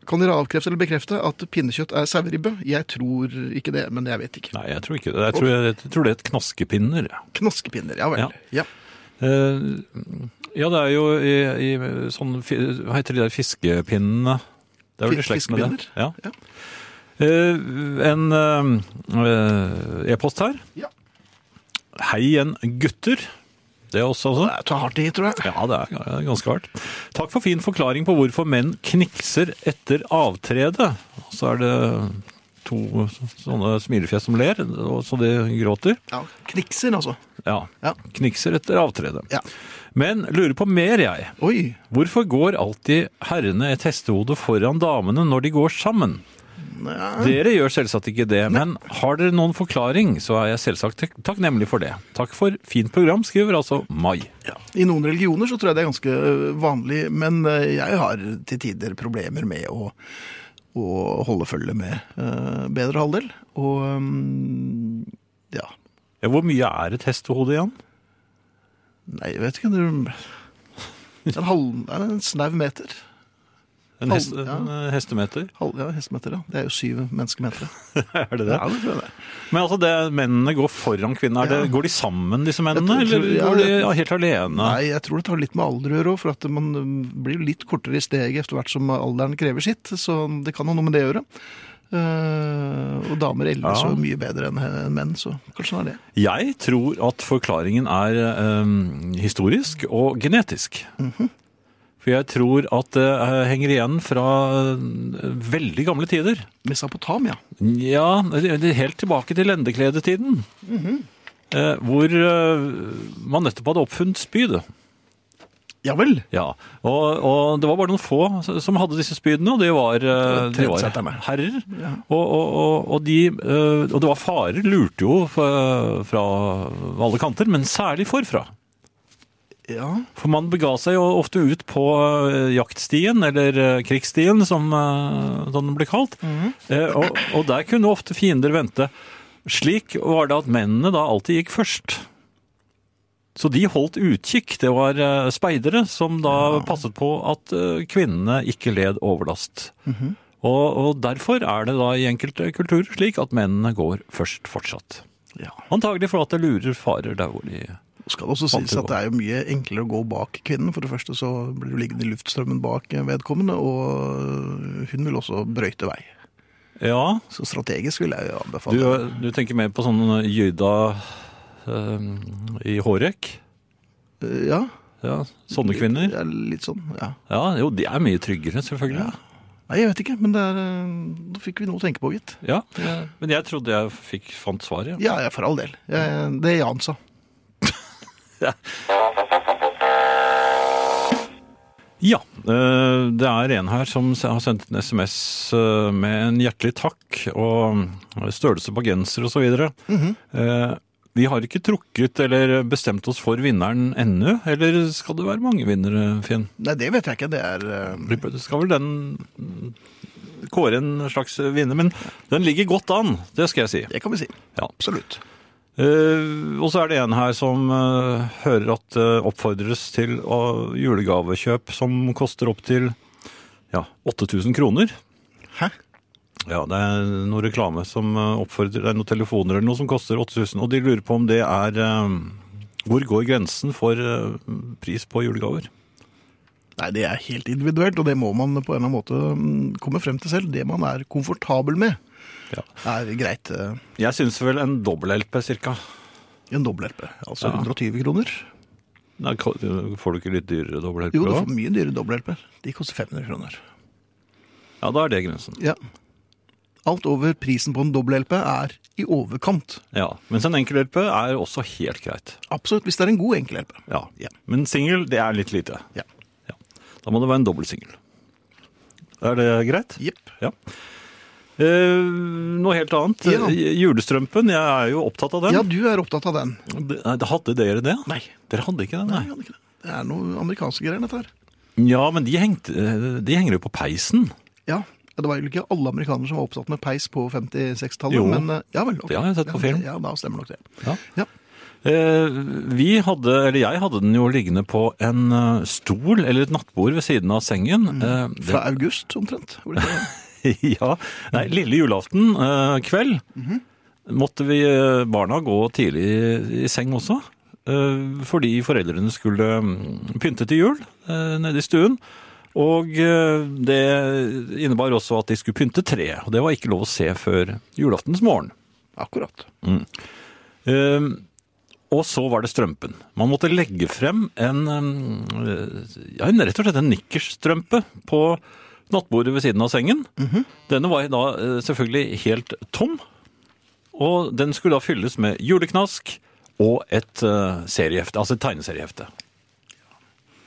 [SPEAKER 2] Kan dere avkrefte eller bekrefte at pinnekjøtt er saueribbe? Jeg tror ikke det, men jeg vet ikke.
[SPEAKER 3] Nei, jeg tror ikke det. Jeg tror, jeg, tror det er et knaskepinner.
[SPEAKER 2] Knaskepinner, ja vel.
[SPEAKER 3] Ja.
[SPEAKER 2] Ja.
[SPEAKER 3] Eh, ja, det er jo i, i sånn fi- Hva heter de der fiskepinnene? Det er vel i
[SPEAKER 2] Fi-
[SPEAKER 3] slekt med det.
[SPEAKER 2] fiskepinner?
[SPEAKER 3] Ja. Eh, en eh, eh, e-post her.
[SPEAKER 2] Ja.
[SPEAKER 3] Hei igjen, gutter. Det er også sånn.
[SPEAKER 2] Det er ta hardt i, tror jeg.
[SPEAKER 3] Ja, det er ganske hardt. Takk for fin forklaring på hvorfor menn knikser etter avtredet. Så er det to sånne smilefjes som ler, og så de gråter.
[SPEAKER 2] Ja. Knikser, altså.
[SPEAKER 3] Ja,
[SPEAKER 2] Ja.
[SPEAKER 3] knikser etter avtredet.
[SPEAKER 2] Ja.
[SPEAKER 3] Men lurer på mer, jeg.
[SPEAKER 2] Oi.
[SPEAKER 3] Hvorfor går alltid herrene et hestehode foran damene når de går sammen? Dere gjør selvsagt ikke det, men har dere noen forklaring, så er jeg selvsagt tak- takknemlig for det. Takk for fint program, skriver altså Mai.
[SPEAKER 2] Ja. I noen religioner så tror jeg det er ganske ø, vanlig, men ø, jeg har til tider problemer med å, å holde følge med ø, bedre halvdel. Og ø, ja
[SPEAKER 3] Ja, hvor mye er et hestehode igjen?
[SPEAKER 2] Nei, jeg vet ikke. Det er en, halv, det er en snau meter.
[SPEAKER 3] En,
[SPEAKER 2] Halv-
[SPEAKER 3] hest,
[SPEAKER 2] ja.
[SPEAKER 3] en eh, hestemeter?
[SPEAKER 2] Halv, ja, hestemeter, ja. Det er jo syv menneskemeter.
[SPEAKER 3] Er det
[SPEAKER 2] Ja, det tror jeg det.
[SPEAKER 3] Men altså, det, mennene går foran kvinnene. Er det-
[SPEAKER 2] Ja.
[SPEAKER 3] Går de sammen, disse mennene?
[SPEAKER 2] Jeg tror-
[SPEAKER 3] eller
[SPEAKER 2] ja,
[SPEAKER 3] går de
[SPEAKER 2] det-
[SPEAKER 3] ja, helt alene?
[SPEAKER 2] Nei, jeg tror det tar litt med alder å gjøre òg, for at man um, blir jo litt kortere i steget etter hvert som alderen krever sitt. Så det kan ha noe med det å gjøre. Eh, og damer eldes
[SPEAKER 3] Ja.
[SPEAKER 2] jo mye bedre enn eh, menn, så kanskje sånn er det.
[SPEAKER 3] Jeg tror at forklaringen er eh, historisk og genetisk.
[SPEAKER 2] Mhm.
[SPEAKER 3] For jeg tror at det eh, henger igjen fra eh, veldig gamle tider.
[SPEAKER 2] Mesopotamia.
[SPEAKER 3] Ja, eller helt tilbake til lendekledetiden.
[SPEAKER 2] Mhm.
[SPEAKER 3] eh, hvor eh, man nettopp hadde oppfunnet spydet.
[SPEAKER 2] Ja vel.
[SPEAKER 3] Ja, og, og det var bare noen få som hadde disse spydene, og det var, eh, det var
[SPEAKER 2] Trendsetterne.
[SPEAKER 3] herrer. Og, og, og, og, de, eh, og det var eh, farer, lurte jo fra, fra alle kanter, men særlig forfra.
[SPEAKER 2] Ja.
[SPEAKER 3] For man bega seg jo ofte ut på eh, jaktstien, eller eh, krigsstien som, eh, som den ble kalt. Eh, og, og der kunne ofte fiender vente. Slik var det at mennene da alltid gikk først. Så de holdt utkikk. Det var eh, speidere som da passet på at eh, kvinnene ikke led overlast. og, og derfor er det da i enkelte kulturer slik at mennene går først fortsatt.
[SPEAKER 2] Ja.
[SPEAKER 3] Antagelig for at det lurer farer der hvor de
[SPEAKER 2] Skal det også sies at det er jo mye enklere å gå bak kvinnen. For det første så blir du liggende i luftstrømmen bak vedkommende, og hun vil også brøyte vei.
[SPEAKER 3] Ja,
[SPEAKER 2] Så strategisk vil jeg jo
[SPEAKER 3] Du,
[SPEAKER 2] anbefale.
[SPEAKER 3] du tenker mer på sånn jyda eh, i hårrekk?
[SPEAKER 2] Ja,
[SPEAKER 3] Ja, sånne kvinner?
[SPEAKER 2] det er litt sånn, ja.
[SPEAKER 3] Ja, jo, de er mye tryggere, selvfølgelig.
[SPEAKER 2] Nei, jeg vet ikke, men det er, eh, da fikk vi noe å tenke på, gitt.
[SPEAKER 3] Ja, Men jeg trodde jeg fikk, fant svaret. Ja.
[SPEAKER 2] Ja, ja, for all del. Jeg, det er Jan sa.
[SPEAKER 3] ja eh, det er en her som s- har sendt en SMS eh, med en hjertelig takk og eh, størrelse på genser osv. Mhm. Vi har ikke trukket eller bestemt oss for vinneren ennå, eller skal det være mange vinnere, Finn?
[SPEAKER 2] Nei, det vet jeg ikke. Det er eh,
[SPEAKER 3] Du skal vel den mm, kåre en slags vinner, men den ligger godt an, det skal jeg si.
[SPEAKER 2] Det kan vi si.
[SPEAKER 3] Ja.
[SPEAKER 2] Absolutt.
[SPEAKER 3] Eh, og så er det en her som eh, hører at det oppfordres til å- julegavekjøp som koster opptil ja, 8000 kroner.
[SPEAKER 2] Hæ?
[SPEAKER 3] Ja, det er noe reklame som eh, oppfordrer, det er noen telefoner eller noe som koster 8000, og de lurer på om det er eh, Hvor går grensen for eh, pris på julegaver?
[SPEAKER 2] Nei, det er helt individuelt, og det må man på en eller annen måte mm, komme frem til selv. Det man er komfortabel med,
[SPEAKER 3] Ja.
[SPEAKER 2] er greit. eh,
[SPEAKER 3] Jeg syns vel en dobbel-LP cirka.
[SPEAKER 2] En dobbel-LP, altså 120 kroner.
[SPEAKER 3] Nei, ko- får du ikke litt dyrere dobbel-LP?
[SPEAKER 2] Jo, du
[SPEAKER 3] da?
[SPEAKER 2] får mye dyre dobbel-LP-er. De koster 500 kroner.
[SPEAKER 3] Ja, da er det grensen.
[SPEAKER 2] Ja. Alt over prisen på en dobbel-LP er i overkant.
[SPEAKER 3] Ja, Mens en enkel LP er også helt greit.
[SPEAKER 2] Absolutt, hvis det er en god enkel-LP.
[SPEAKER 3] Ja, Men singel, det er litt lite.
[SPEAKER 2] Ja.
[SPEAKER 3] Ja. Da må det være en dobbel singel. Er det greit?
[SPEAKER 2] Jepp.
[SPEAKER 3] Ja. Eh, noe helt annet.
[SPEAKER 2] Ja.
[SPEAKER 3] Eh, Julestrømpen, jeg er jo opptatt av den.
[SPEAKER 2] Ja, du er opptatt av den.
[SPEAKER 3] Det- Hadde dere det?
[SPEAKER 2] Nei.
[SPEAKER 3] Dere hadde ikke det, nei.
[SPEAKER 2] Nei, Annike, Det er noe amerikanske greier, dette her.
[SPEAKER 3] Ja, men de, hengte, eh, de henger jo på peisen.
[SPEAKER 2] Ja, det var jo ikke alle amerikanere som var opptatt med peis på 56-tallet,
[SPEAKER 3] Jo.
[SPEAKER 2] men eh, ja vel. ok.
[SPEAKER 3] Det har jeg sett på
[SPEAKER 2] Ja,
[SPEAKER 3] film.
[SPEAKER 2] Ja, da stemmer nok det.
[SPEAKER 3] Ja.
[SPEAKER 2] Ja.
[SPEAKER 3] Eh, Vi hadde, eller jeg hadde den jo liggende på en eh, stol eller et nattbord ved siden av sengen. Eh, det-
[SPEAKER 2] Mm. Fra august, omtrent. Hvor det
[SPEAKER 3] ja. Nei, lille julaften eh, kveld måtte vi eh, barna gå tidlig i, i seng også. eh, fordi foreldrene skulle mm, pynte til jul eh, nede i stuen. Og eh, det innebar også at de skulle pynte treet. Og det var ikke lov å se før julaftens morgen.
[SPEAKER 2] Akkurat.
[SPEAKER 3] Eh, og så var det strømpen. Man måtte legge frem en, eh, ja, en rett og slett en nikkersstrømpe på nattbordet ved siden av sengen.
[SPEAKER 2] Mhm.
[SPEAKER 3] Denne var da eh, selvfølgelig helt tom, og den skulle da fylles med juleknask og et eh, seriehefte, altså et tegneseriehefte.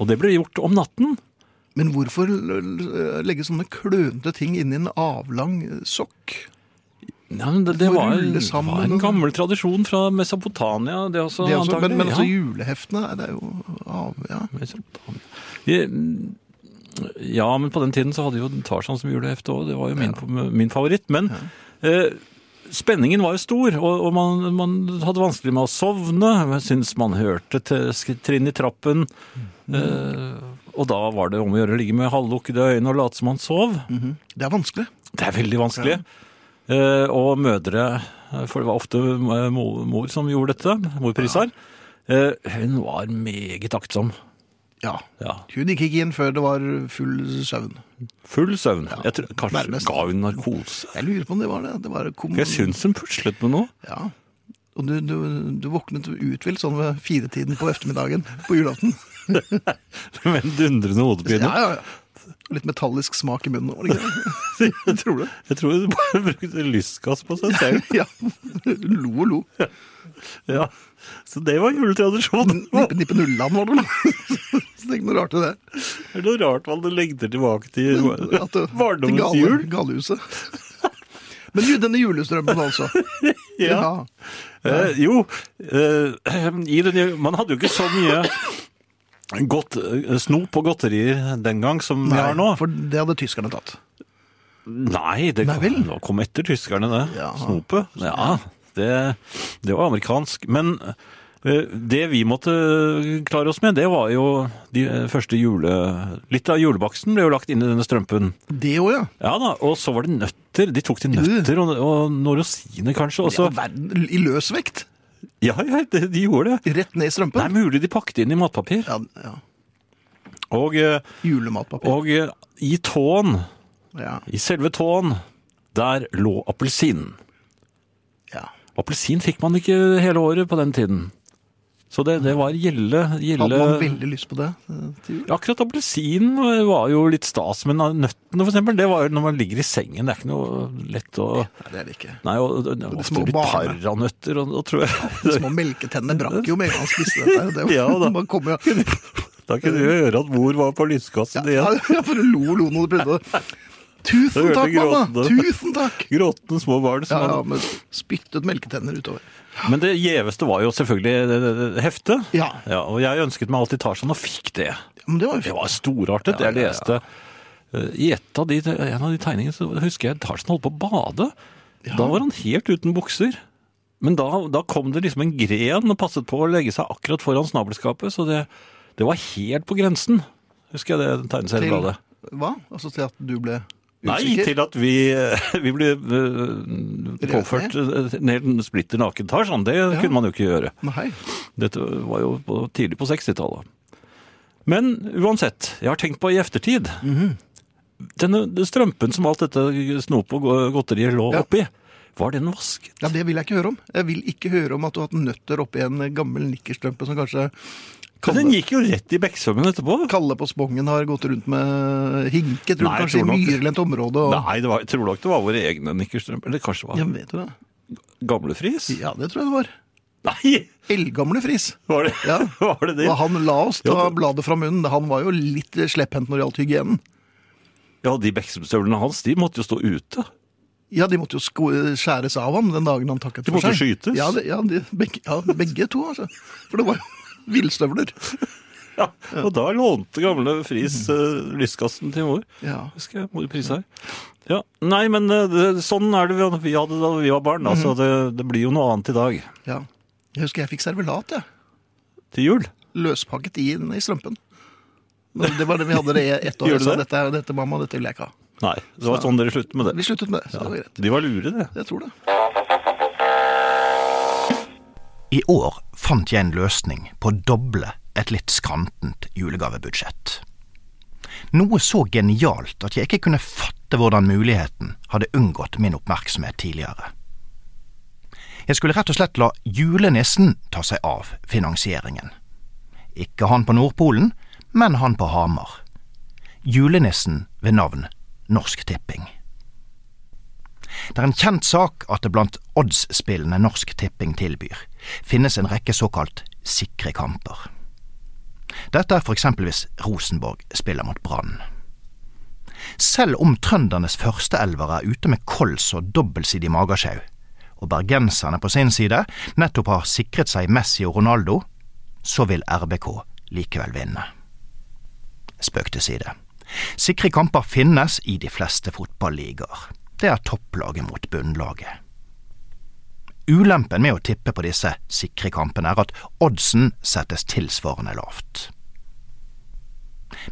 [SPEAKER 3] Og det ble gjort om natten.
[SPEAKER 2] Men hvorfor l- l- legge sånne klønete ting inn i en avlang eh, sokk?
[SPEAKER 3] Ja, men det, det
[SPEAKER 2] Må
[SPEAKER 3] var,
[SPEAKER 2] rulle sammen
[SPEAKER 3] var en
[SPEAKER 2] og-
[SPEAKER 3] gammel tradisjon fra Mesopotamia, det også,
[SPEAKER 2] Det er også,
[SPEAKER 3] antagelig.
[SPEAKER 2] men, men
[SPEAKER 3] ja.
[SPEAKER 2] altså juleheftene, det er jo av, ja.
[SPEAKER 3] Mesopotamia. Vi- mm, Ja, men på den tiden så hadde jo Tarzan som julehefte òg. Det var jo min, min favoritt. Men eh, spenningen var jo stor, og, og man, man hadde vanskelig med å sovne. Jeg syns man hørte t- sk- trinn i trappen. Eh, og da var det om å gjøre å ligge med halvlukkede øyne og late som man sov.
[SPEAKER 2] Det er vanskelig.
[SPEAKER 3] Det er veldig vanskelig. Eh, og mødre, eh, for det var ofte eh, mor, mor som gjorde dette, mor Prisar, eh, hun var meget aktsom.
[SPEAKER 2] Ja.
[SPEAKER 3] Ja.
[SPEAKER 2] Hun gikk ikke inn før det var full søvn.
[SPEAKER 3] Full søvn. jeg tror, kanskje
[SPEAKER 2] nærmest.
[SPEAKER 3] ga hun narkose?
[SPEAKER 2] Jeg lurer på om det var det. Det var kom...
[SPEAKER 3] Jeg syns hun puslet med noe.
[SPEAKER 2] Ja. Og du, du, du våknet uthvilt sånn ved firetiden på eftermiddagen på julaften.
[SPEAKER 3] Med en dundrende hodepine.
[SPEAKER 2] Ja, ja, ja. Litt metallisk smak i munnen. var det ikke det?
[SPEAKER 3] Jeg tror det. Jeg tror hun bare brukte lystgass på seg selv.
[SPEAKER 2] Ja. Lo og lo.
[SPEAKER 3] Ja. Så det var juletradisjonen.
[SPEAKER 2] Nippe, nippe Nulland var det vel? Så det er ikke noe rart i det.
[SPEAKER 3] Det er noe rart man legger tilbake til
[SPEAKER 2] At det- til
[SPEAKER 3] barndommens
[SPEAKER 2] gale-
[SPEAKER 3] jul.
[SPEAKER 2] Galehuset. Men jo, denne julestrømpen, altså.
[SPEAKER 3] Ja. Eh, jo, eh, i den, man hadde jo ikke så mye godt, eh, snop og godterier den gang som vi har nå.
[SPEAKER 7] for det hadde tyskerne tatt.
[SPEAKER 3] Nei, det
[SPEAKER 7] Nei
[SPEAKER 3] kom,
[SPEAKER 7] vel?
[SPEAKER 3] det kom etter tyskerne, det.
[SPEAKER 7] Ja.
[SPEAKER 3] Snopet. Ja, det, det var amerikansk. Men eh, det vi måtte klare oss med, det var jo de eh, første jule... Litt av julebaksten ble jo lagt inn i denne strømpen.
[SPEAKER 7] Det òg, ja.
[SPEAKER 3] Ja da, og så var det nøtter. De tok til nøtter og, og noen rosiner, kanskje. Og
[SPEAKER 7] Så,
[SPEAKER 3] så,
[SPEAKER 7] verden, I løsvekt.
[SPEAKER 3] ja, ja, de, de gjorde det.
[SPEAKER 7] Rett ned i
[SPEAKER 3] Det
[SPEAKER 7] strømpen.
[SPEAKER 3] er mulig de pakket inn i matpapir.
[SPEAKER 7] Ja, ja.
[SPEAKER 3] Og, eh,
[SPEAKER 7] Julematpapir.
[SPEAKER 3] og eh, i tåen,
[SPEAKER 7] Ja,
[SPEAKER 3] i selve tåen, der lå appelsinen.
[SPEAKER 7] ja.
[SPEAKER 3] Appelsin fikk man ikke hele året på den tiden. Så det, det var gjelde,
[SPEAKER 7] Hadde
[SPEAKER 3] gjelde
[SPEAKER 7] man veldig lyst på det eh, til jul?
[SPEAKER 3] Akkurat appelsinen var jo litt stas, men nøttene for eksempel, det var jo når man ligger i sengen. Det er ikke noe lett å
[SPEAKER 7] Nei, det er det ikke.
[SPEAKER 3] Nei, og det er ofte
[SPEAKER 7] små
[SPEAKER 3] litt
[SPEAKER 7] barene.
[SPEAKER 3] paranøtter, og, og tror
[SPEAKER 7] De
[SPEAKER 3] jeg
[SPEAKER 7] Små melketennene brakk jo med en gang han spiste dette. her, og Det var,
[SPEAKER 3] Ja, da.
[SPEAKER 7] man kom jo ja,
[SPEAKER 3] Da kunne du høre at mor var på lyskassen
[SPEAKER 7] ja,
[SPEAKER 3] igjen.
[SPEAKER 7] ja, for lo og lo når du prøvde det. Tusen
[SPEAKER 3] Det hørte
[SPEAKER 7] takk, mamma!
[SPEAKER 3] gråtende.
[SPEAKER 7] Tusen takk!
[SPEAKER 3] Gråtende små barn. Som
[SPEAKER 7] Ja, ja,
[SPEAKER 3] hadde-
[SPEAKER 7] men spyttet melketenner utover.
[SPEAKER 3] Men det gjeveste var jo selvfølgelig eh, det, det, det, heftet.
[SPEAKER 7] Ja.
[SPEAKER 3] og jeg ønsket meg alltid Tarzan og fikk det.
[SPEAKER 7] Ja, men det var jo
[SPEAKER 3] Det
[SPEAKER 7] fint.
[SPEAKER 3] var storartet. Jeg leste eh, i et av de, en av de tegningene så husker jeg Tarzan holdt på å bade. Da var han helt uten bukser. Men da, da kom det liksom en gren og passet på å legge seg akkurat foran snabelskapet, så det, det var helt på grensen. Husker jeg det
[SPEAKER 7] Til
[SPEAKER 3] tegneseriebladet?
[SPEAKER 7] hva? Altså til at du ble
[SPEAKER 3] Nei,
[SPEAKER 7] usikker?
[SPEAKER 3] til at vi, vi ble eh, påført eh, ned- splitter naken Tarzan. Det kunne man jo ikke gjøre.
[SPEAKER 7] Nei.
[SPEAKER 3] Dette var jo på, tidlig på 60-tallet. Men uansett, jeg har tenkt på i eftertid.
[SPEAKER 7] Mhm.
[SPEAKER 3] Denne den strømpen som alt dette snop og go- godteriet lå
[SPEAKER 7] Ja.
[SPEAKER 3] oppi, var den vasket?
[SPEAKER 7] Ja, det vil jeg ikke høre om. Jeg vil ikke høre om at du har hatt nøtter oppi en gammel nikkerstrømpe som kanskje
[SPEAKER 3] Men
[SPEAKER 7] Kalle,
[SPEAKER 3] Den gikk jo rett i bekksvømmen etterpå.
[SPEAKER 7] Kalle på Spongen har gått rundt med hinket rundt
[SPEAKER 3] Nei, jeg
[SPEAKER 7] kanskje i
[SPEAKER 3] tror nok-
[SPEAKER 7] myrlendt område. Og...
[SPEAKER 3] Nei, det var, jeg tror nok det var våre egne nikkerstrømper. Eller kanskje det var
[SPEAKER 7] Ja, vet du det?
[SPEAKER 3] gamlefris?
[SPEAKER 7] Ja, det tror jeg det var.
[SPEAKER 3] Nei!
[SPEAKER 7] Eldgamle Friis.
[SPEAKER 3] Var det
[SPEAKER 7] Ja.
[SPEAKER 3] var det? det?
[SPEAKER 7] Da han la oss ta
[SPEAKER 3] Ja,
[SPEAKER 7] bladet fra munnen. Han var jo litt slepphendt når det gjaldt hygienen.
[SPEAKER 3] Ja, de bekksvømmstøvlene hans de måtte jo stå ute.
[SPEAKER 7] Ja, de måtte jo sko skjæres av ham den dagen han takket
[SPEAKER 3] De
[SPEAKER 7] for
[SPEAKER 3] måtte
[SPEAKER 7] seg.
[SPEAKER 3] skytes?
[SPEAKER 7] Ja, det, ja, de, begge, ja, begge to, altså. For det var jo villstøvler.
[SPEAKER 3] Ja, og da lånte gamle Friis eh, lyskassen til mor.
[SPEAKER 7] Ja.
[SPEAKER 3] Husker jeg, mor Pris her. Ja, Nei, men eh, det, sånn er det vi, vi hadde da vi var barn. Altså, det, det blir jo noe annet i dag.
[SPEAKER 7] ja. Jeg husker jeg fikk servelat, jeg.
[SPEAKER 3] Til jul.
[SPEAKER 7] Løspakket i, i strømpen. Men Det var det vi hadde det i ett år.
[SPEAKER 3] Gjorde
[SPEAKER 7] Jeg sa
[SPEAKER 3] det?
[SPEAKER 7] dette, er- dette, mamma, dette vil jeg ikke ha.
[SPEAKER 3] Nei, det var sånn dere sluttet med
[SPEAKER 7] Vi
[SPEAKER 3] det.
[SPEAKER 7] sluttet med det, så det var greit.
[SPEAKER 3] De var lure, det.
[SPEAKER 7] Jeg tror det.
[SPEAKER 2] I år fant jeg en løsning på å doble et litt skrantent julegavebudsjett. Noe så genialt at jeg ikke kunne fatte hvordan muligheten hadde unngått min oppmerksomhet tidligere. Jeg skulle rett og slett la julenissen ta seg av finansieringen. Ikke han på Nordpolen, men han på Hamar. Julenissen ved navn Norsk Tipping. Det er en kjent sak at det blant oddsspillene Norsk Tipping tilbyr, finnes en rekke såkalt sikre kamper. Dette er for eksempel hvis Rosenborg spiller mot Brann. Selv om trøndernes førsteelver er ute med kols og dobbeltsidig magesjau, og bergenserne på sin side nettopp har sikret seg Messi og Ronaldo, så vil RBK likevel vinne. Spøk til side. Sikre kamper finnes i de fleste fotballigaer. Det er topplaget mot bunnlaget. Ulempen med å tippe på disse sikre kampene er at oddsen settes tilsvarende lavt.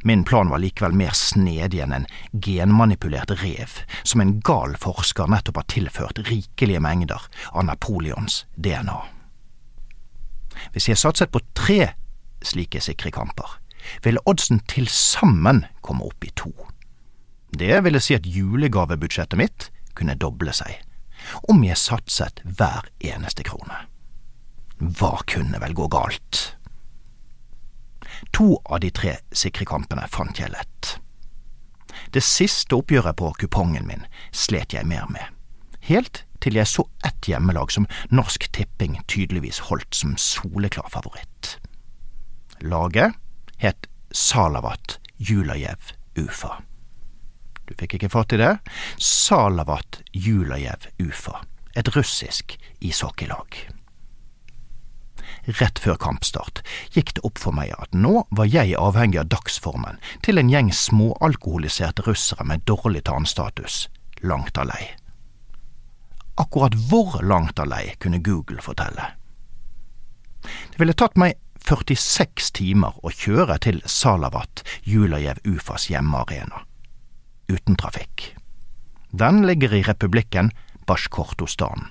[SPEAKER 2] Min plan var likevel mer snedig enn en genmanipulert rev som en gal forsker nettopp har tilført rikelige mengder av Napoleons DNA. Hvis jeg satset på tre slike sikre kamper, ville oddsen til sammen komme opp i to. Det ville si at julegavebudsjettet mitt kunne doble seg, om jeg satset hver eneste krone. Hva kunne vel gå galt? To av de tre sikre kampene fant jeg lett. Det siste oppgjøret på kupongen min slet jeg mer med, helt til jeg så ett hjemmelag som Norsk Tipping tydeligvis holdt som soleklar favoritt. Laget het Salavat Julajev Ufa. Du fikk ikke fatt i det? Salavat Julajev Ufa, et russisk ishockeylag.
[SPEAKER 8] rett før kampstart, gikk det opp for meg at nå var jeg avhengig av dagsformen til en gjeng småalkoholiserte russere med dårlig tannstatus, langt av lei. Akkurat hvor langt av lei kunne Google fortelle. Det ville tatt meg 46 timer å kjøre til Salavat, Julajev Ufas hjemmearena. Uten trafikk. Den ligger i republikken Basjkortostan.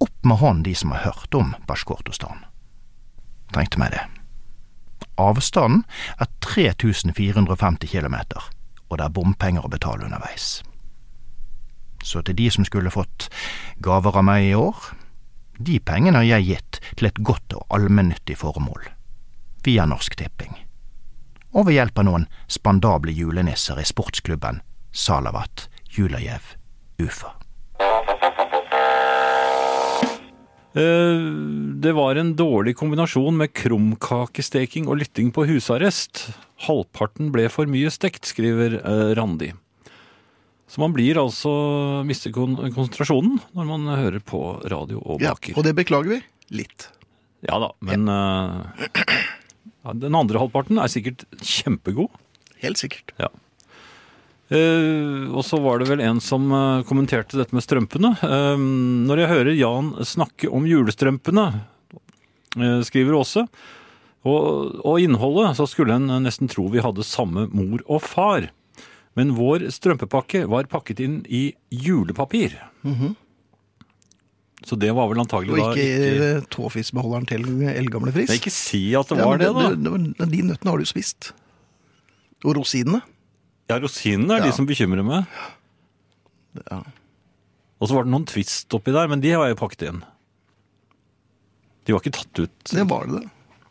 [SPEAKER 8] Opp med hånd de som har hørt om Basjkortostan. Tenkte meg det. Avstanden er 3450 kilometer, og det er bompenger å betale underveis. Så til de som skulle fått gaver av meg i år, de pengene har jeg gitt til et godt og allmennyttig formål, via Norsk Tipping, og ved hjelp av noen spandable julenisser i sportsklubben Salavat Julajev Ufa.
[SPEAKER 3] Eh, Det var en dårlig kombinasjon med krumkakesteking og lytting på husarrest. Halvparten ble for mye stekt, skriver eh, Randi. Så man blir altså mister kon konsentrasjonen når man hører på radio og
[SPEAKER 2] Ja,
[SPEAKER 3] baker.
[SPEAKER 2] og det beklager vi litt.
[SPEAKER 3] Ja da, men eh, ja, den andre halvparten er sikkert kjempegod.
[SPEAKER 2] Helt sikkert.
[SPEAKER 3] Ja. Eh, og så var det vel en som eh, kommenterte dette med strømpene. Eh, når jeg hører Jan snakke om julestrømpene, eh, skriver Åse, og, og innholdet, så skulle en nesten tro vi hadde samme mor og far. Men vår strømpepakke var pakket inn i julepapir. Så det var vel antagelig
[SPEAKER 2] Mhm. Og
[SPEAKER 3] da
[SPEAKER 2] ikke, eh, tåfisbeholderen til eldgamle Friis.
[SPEAKER 3] Nei, ikke si at det
[SPEAKER 2] Ja,
[SPEAKER 3] var
[SPEAKER 2] men
[SPEAKER 3] det, da.
[SPEAKER 2] det- det- De nøttene har du spist. Og rosinene.
[SPEAKER 3] Ja, rosinene er
[SPEAKER 2] Ja.
[SPEAKER 3] de som bekymrer meg.
[SPEAKER 2] Ja.
[SPEAKER 3] Og så var det noen twist oppi der, men de har jeg pakket inn. De var ikke tatt ut.
[SPEAKER 2] Det var det.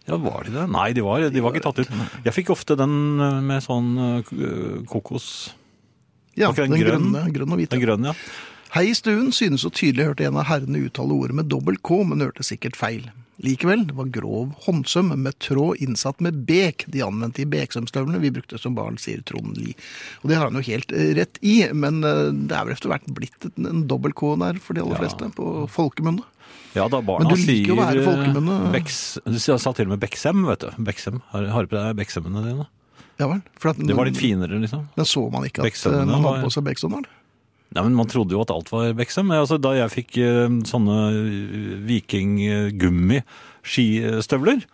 [SPEAKER 3] Ja, var de det? Nei, de var, de var ikke tatt ut. Jeg fikk ofte den eh, med sånn eh, k- eh, kokos.
[SPEAKER 2] Ja,
[SPEAKER 3] Var ikke
[SPEAKER 2] den,
[SPEAKER 3] den grønn?
[SPEAKER 2] grønne, grønn og hvite.
[SPEAKER 3] Den grønne, ja.
[SPEAKER 2] Hei i stuen synes så tydelig hørte en av herrene uttale ordet med dobbelt K, men hørte sikkert feil. Likevel, det var grov håndsøm med tråd innsatt med bek de anvendte i beksømstøvlene vi brukte som barn, sier Trond Lie. Og det har han jo helt eh, rett i, men eh, det er vel etter hvert blitt en- en dobbelt K der for de aller fleste, på folkemunne.
[SPEAKER 3] Ja, da barna
[SPEAKER 2] Men du liker jo å være
[SPEAKER 3] sier, eh,
[SPEAKER 2] folkemunne.
[SPEAKER 3] Becks- Du sa sa til og med Beksem, vet du. Beksem. Har har du på deg Beksemmene dine?
[SPEAKER 2] Ja vel? For at
[SPEAKER 3] Det var
[SPEAKER 2] den-
[SPEAKER 3] litt finere, liksom.
[SPEAKER 2] Den så man ikke at eh,
[SPEAKER 3] Beksømmene
[SPEAKER 2] man
[SPEAKER 3] var-
[SPEAKER 2] hadde på seg beksømmeren.
[SPEAKER 3] Nei, men Man trodde jo at alt var Beksem. Altså, da jeg fikk eh, sånne eh, vikinggummi-skistøvler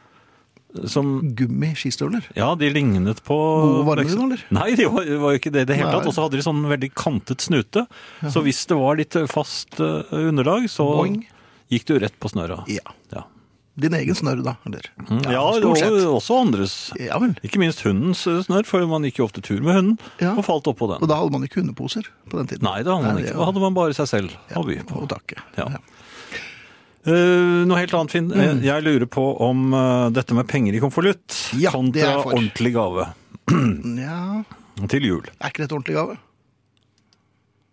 [SPEAKER 3] som
[SPEAKER 2] Gummi-skistøvler.
[SPEAKER 3] Ja, de lignet på
[SPEAKER 2] Gode varmer da, eller?
[SPEAKER 3] Nei, de var, var jo ikke det i det hele
[SPEAKER 2] Nei.
[SPEAKER 3] tatt. Og så hadde de sånn veldig kantet snute. Så hvis det var litt fast eh, underlag, så
[SPEAKER 2] Boing.
[SPEAKER 3] gikk du rett på snøra.
[SPEAKER 2] Ja.
[SPEAKER 3] Ja,
[SPEAKER 2] Din egen snørr, da? Eller?
[SPEAKER 3] Mm, ja
[SPEAKER 2] stort
[SPEAKER 3] og
[SPEAKER 2] sett.
[SPEAKER 3] også andres.
[SPEAKER 2] Ja vel.
[SPEAKER 3] Ikke minst hundens eh, snørr, for man gikk jo ofte tur med hunden
[SPEAKER 2] Ja.
[SPEAKER 3] og falt oppå
[SPEAKER 2] Og
[SPEAKER 3] den.
[SPEAKER 2] da hadde man ikke hundeposer på den tiden.
[SPEAKER 3] Nei, det hadde man
[SPEAKER 2] Nei, det
[SPEAKER 3] ikke.
[SPEAKER 2] var-
[SPEAKER 3] Da hadde man bare seg selv å by på.
[SPEAKER 2] Å takke.
[SPEAKER 3] Ja.
[SPEAKER 2] Ja. Mm.
[SPEAKER 3] Eh, noe helt annet, Finn. Eh, Jeg lurer på om eh, dette med penger i konvolutt
[SPEAKER 2] Ja, det er
[SPEAKER 3] kontra
[SPEAKER 2] jeg for.
[SPEAKER 3] ordentlig gave
[SPEAKER 2] Nja,
[SPEAKER 3] til jul.
[SPEAKER 2] er ikke dette ordentlig gave?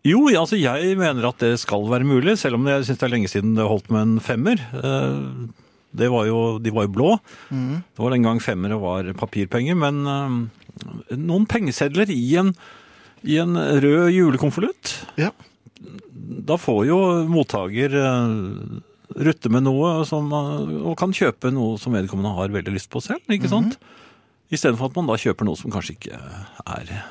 [SPEAKER 3] Jo, ja, altså jeg mener at det skal være mulig, selv om jeg syns det er lenge siden det holdt med en femmer. Eh, Det var jo, de var jo blå.
[SPEAKER 2] Mm.
[SPEAKER 3] Det var den gang femmere var papirpenger, men eh, noen pengesedler i en, i en rød julekonvolutt
[SPEAKER 2] Ja.
[SPEAKER 3] Da får jo mottaker eh, rutte med noe som, eh, og kan kjøpe noe som vedkommende har veldig lyst på selv, ikke sant? Istedenfor at man da kjøper noe som kanskje ikke er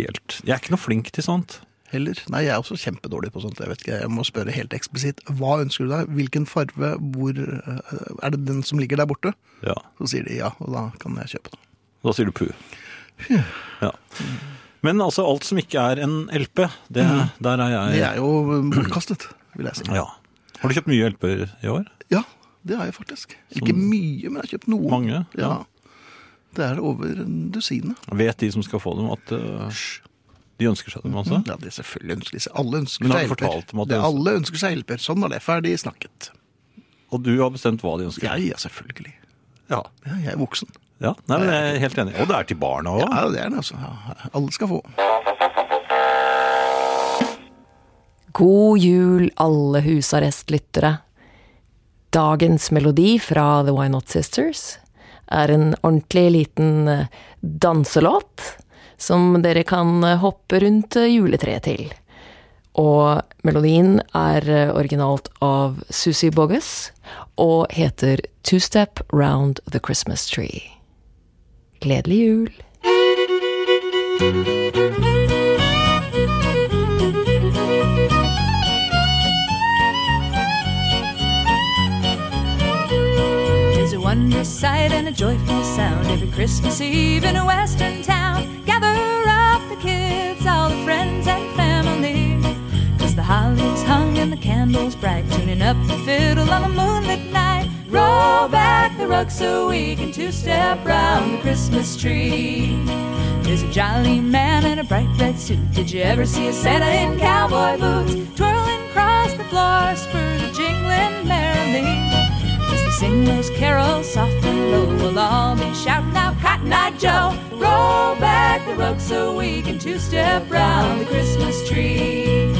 [SPEAKER 3] helt Jeg er ikke noe flink til sånt.
[SPEAKER 2] Heller. Nei, jeg er også kjempedårlig på sånt. Jeg vet ikke, jeg må spørre helt eksplisitt. Hva ønsker du deg? Hvilken farve? Hvor eh, Er det den som ligger der borte?
[SPEAKER 3] Ja.
[SPEAKER 2] Så sier de ja, og da kan jeg kjøpe den.
[SPEAKER 3] Da sier du pu. Ja. Men altså, alt som ikke er en LP, Mhm. det, der er jeg.
[SPEAKER 2] Det er jo eh, bortkastet, vil jeg si.
[SPEAKER 3] Ja. Har du kjøpt mye LP-er i år?
[SPEAKER 2] Ja, det har jeg faktisk. Ikke mye, men jeg har kjøpt noe.
[SPEAKER 3] Mange,
[SPEAKER 2] Ja.
[SPEAKER 3] ja.
[SPEAKER 2] Det er over dusinet.
[SPEAKER 3] Vet de som skal få dem, at eh, de ønsker seg dem? altså?
[SPEAKER 2] Mm. Ja, det er selvfølgelig ønsker seg. Alle ønsker
[SPEAKER 3] Men har
[SPEAKER 2] seg
[SPEAKER 3] du fortalt dem
[SPEAKER 2] hjelper. Det,
[SPEAKER 3] at du ønsker-
[SPEAKER 2] alle ønsker seg hjelper. Sånn var det. Ferdig snakket.
[SPEAKER 3] Og du har bestemt hva de ønsker?
[SPEAKER 2] Ja, ja, selvfølgelig.
[SPEAKER 3] Ja.
[SPEAKER 2] Ja, jeg er voksen.
[SPEAKER 3] ja. Nei, men jeg er helt enig. Og det er til barna òg.
[SPEAKER 2] Ja, det er den, altså. Ja, alle skal få.
[SPEAKER 9] God jul, alle husarrestlyttere. Dagens melodi fra The Why Not Sisters er en ordentlig liten eh, danselåt som dere kan eh, hoppe rundt eh, juletreet til. Og melodien er eh, originalt av Susi Bogus og heter Two Step Round the Christmas Tree. Gledelig jul!
[SPEAKER 5] There's a wondrous sight and a joyful sound every Christmas Eve in a western town. Gather up the kids, all the friends and family. Cause the holly's hung and the candles bright, tuning up the fiddle on a moonlit night. Roll back the rug so we can two step round the Christmas tree. There's a jolly man in a bright red suit. Did you ever see a Santa in cowboy boots? Twirling across the floor, spurs are jingling merrily. As they sing those carols soft and low, we'll all be shouting out Cotton Eye Joe. Roll back the rug so we can two-step round the Christmas tree.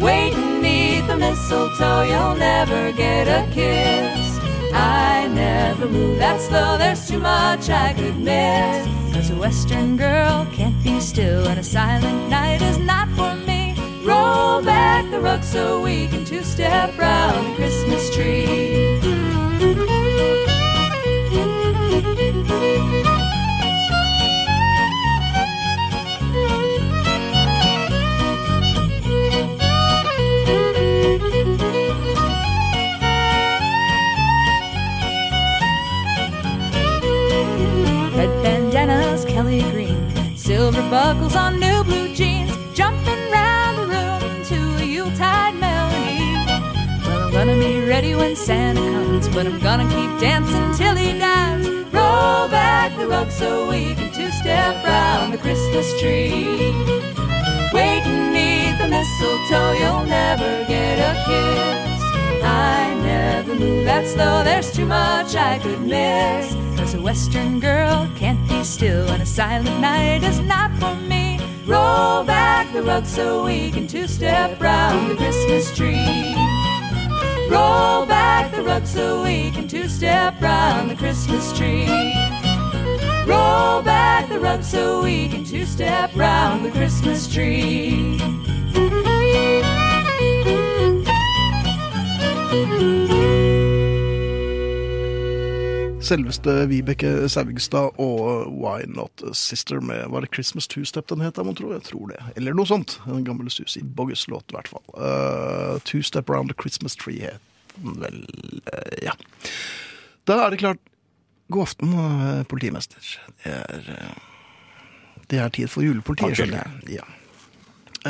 [SPEAKER 5] Wait neath the mistletoe, you'll never get a kiss. I never move that slow, there's too much I could miss. Cause a western girl can't be still, and a silent night is not for me. Roll back the rug so we can two-step round the Christmas tree. Red bandanas, Kelly green, silver buckles on new blue jeans, jumping round the room to a Yuletide melody. Well, I'm gonna be ready when Santa comes, but I'm gonna keep dancing till he dies. Roll back the rug so we can two-step round the Christmas tree. Wait neath the mistletoe, you'll never get a kiss. I never knew that slow, there's too much I could miss. Cause a western girl can't be still, and a silent night is not for me. Roll back the rug so we can two-step round the Christmas tree. Roll back the rug so we can two-step round the Christmas tree. Roll back the rug so we can two-step round the Christmas tree.
[SPEAKER 2] Selveste Vibeke Saugstad og Why Not Sister med Var det Christmas Two Step den het, da, mon tro? Jeg tror det. Eller noe sånt. En gammel Susi Boggus-låt, i hvert fall. Eh, two Step Round the Christmas Tree het den vel, eh, ja. Da er det klart God aften, eh, politimester. Det er, eh, det er tid for julepolitiet,
[SPEAKER 3] Takk,
[SPEAKER 2] skjønner jeg. Ja.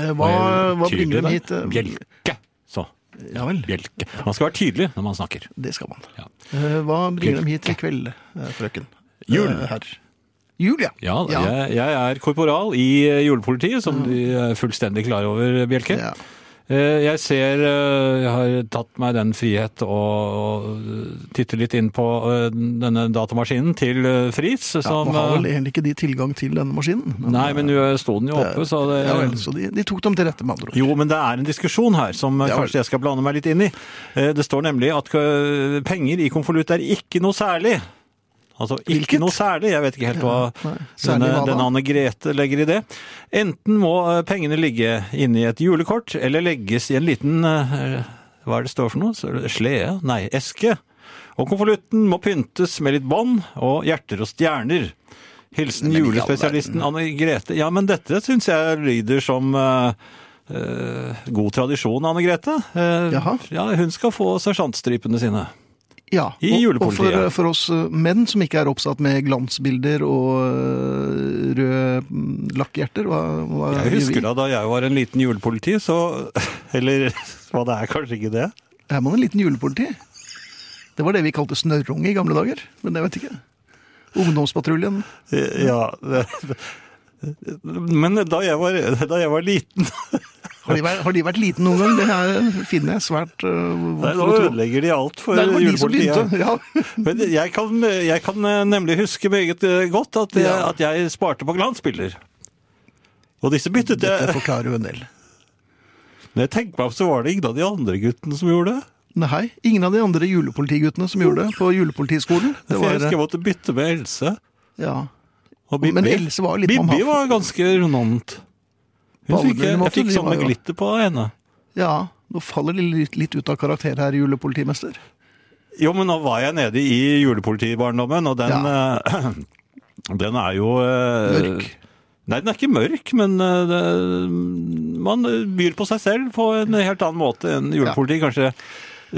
[SPEAKER 2] Eh, Hva, hva bringer dem hit? eh?
[SPEAKER 3] Bjelke. Så.
[SPEAKER 2] Ja vel.
[SPEAKER 3] Bjelke. Man skal være tydelig når man snakker.
[SPEAKER 2] Det skal man.
[SPEAKER 3] Ja.
[SPEAKER 2] Eh, Hva bringer dem hit i kveld, eh, frøken?
[SPEAKER 3] Jul.
[SPEAKER 2] Eh, Herr. Jul, ja.
[SPEAKER 3] Ja,
[SPEAKER 2] Ja.
[SPEAKER 3] Jeg, jeg er korporal i eh, julepolitiet, som du er fullstendig klar over, Bjelke.
[SPEAKER 2] Ja.
[SPEAKER 3] Eh, Jeg ser eh, Jeg har tatt meg den frihet å å titte litt inn på eh, denne datamaskinen til eh, Fritz, som
[SPEAKER 2] Man har vel
[SPEAKER 3] eh,
[SPEAKER 2] egentlig ikke de tilgang til denne maskinen.
[SPEAKER 3] Nei, men nå sto den jo
[SPEAKER 2] Det er-
[SPEAKER 3] oppe, så det
[SPEAKER 2] ja, vel, så de, de tok dem til rette, med andre ord.
[SPEAKER 3] Jo, men det er en diskusjon her som eh,
[SPEAKER 2] Ja, vel.
[SPEAKER 3] kanskje jeg skal blande meg litt inn i. Eh, Det står nemlig at eh, penger i konvolutt er ikke noe særlig. Altså ikke
[SPEAKER 2] Hvilket?
[SPEAKER 3] noe særlig, jeg vet ikke helt hva
[SPEAKER 2] nei. Særlig
[SPEAKER 3] denne,
[SPEAKER 2] hva da?
[SPEAKER 3] denne Anne Grete legger i det. Enten må eh, pengene ligge inne i et julekort, eller legges i en liten eh, Hva er det står for noe? Så er det Slede? Nei, eske. Og konvolutten må pyntes med litt bånd og hjerter og stjerner. Hilsen
[SPEAKER 2] Men i all
[SPEAKER 3] julespesialisten Anne Grete. Ja, men dette syns jeg lyder som eh, eh, god tradisjon, Anne Grete. Eh,
[SPEAKER 2] Jaha.
[SPEAKER 3] ja, hun skal få sersjantstripene sine.
[SPEAKER 2] Ja,
[SPEAKER 3] I julepolitiet.
[SPEAKER 2] Og for, for oss eh, menn som ikke er oppsatt med glansbilder og eh, røde mm, lakkhjerter, hva, hva
[SPEAKER 3] Jeg husker da da jeg var en liten julepoliti, så Eller hva det er, kanskje ikke det.
[SPEAKER 2] Er man en liten julepoliti? Det var det vi kalte snørrunge i gamle dager, men jeg vet ikke. Ungdomspatruljen.
[SPEAKER 3] Eh, Ja det, Men da jeg var, da jeg var liten
[SPEAKER 2] Har de, vært, har de vært liten noen gang? Det her finner jeg svært eh,
[SPEAKER 3] Nei,
[SPEAKER 2] vondt
[SPEAKER 3] Nå
[SPEAKER 2] å tro.
[SPEAKER 3] ødelegger de alt for
[SPEAKER 2] Nei, det var de som begynte.
[SPEAKER 3] julepolitiet.
[SPEAKER 2] Ja.
[SPEAKER 3] Men jeg kan, jeg kan eh, nemlig huske meget eh, godt at jeg,
[SPEAKER 2] Ja.
[SPEAKER 3] at jeg sparte på glansbilder. Og disse byttet
[SPEAKER 2] Dette
[SPEAKER 3] jeg.
[SPEAKER 2] forklarer jo en del.
[SPEAKER 3] Når jeg tenker meg om, så var det ingen av de andre guttene som gjorde det.
[SPEAKER 2] Nei, ingen av de andre julepolitiguttene som gjorde det på julepolitiskolen. Det
[SPEAKER 3] For jeg
[SPEAKER 2] var,
[SPEAKER 3] husker jeg måtte bytte med Else
[SPEAKER 2] ja.
[SPEAKER 3] og Bibi.
[SPEAKER 2] Men Else var jo litt
[SPEAKER 3] Bibi
[SPEAKER 2] mamma.
[SPEAKER 3] var ganske rundant.
[SPEAKER 2] På
[SPEAKER 3] Hun
[SPEAKER 2] alle
[SPEAKER 3] fikk,
[SPEAKER 2] mulige måter,
[SPEAKER 3] jeg fikk
[SPEAKER 2] de
[SPEAKER 3] sånn
[SPEAKER 2] var
[SPEAKER 3] med
[SPEAKER 2] jo-
[SPEAKER 3] glitter på henne.
[SPEAKER 2] Ja, nå faller de litt, litt ut av karakter her, julepolitimester.
[SPEAKER 3] Jo, men nå var jeg nede i julepolitibarndommen, og den eh, Den er jo Mørk? Nei, den er ikke mørk, men eh, det, man byr på seg selv på en helt annen måte enn julepolitiet kanskje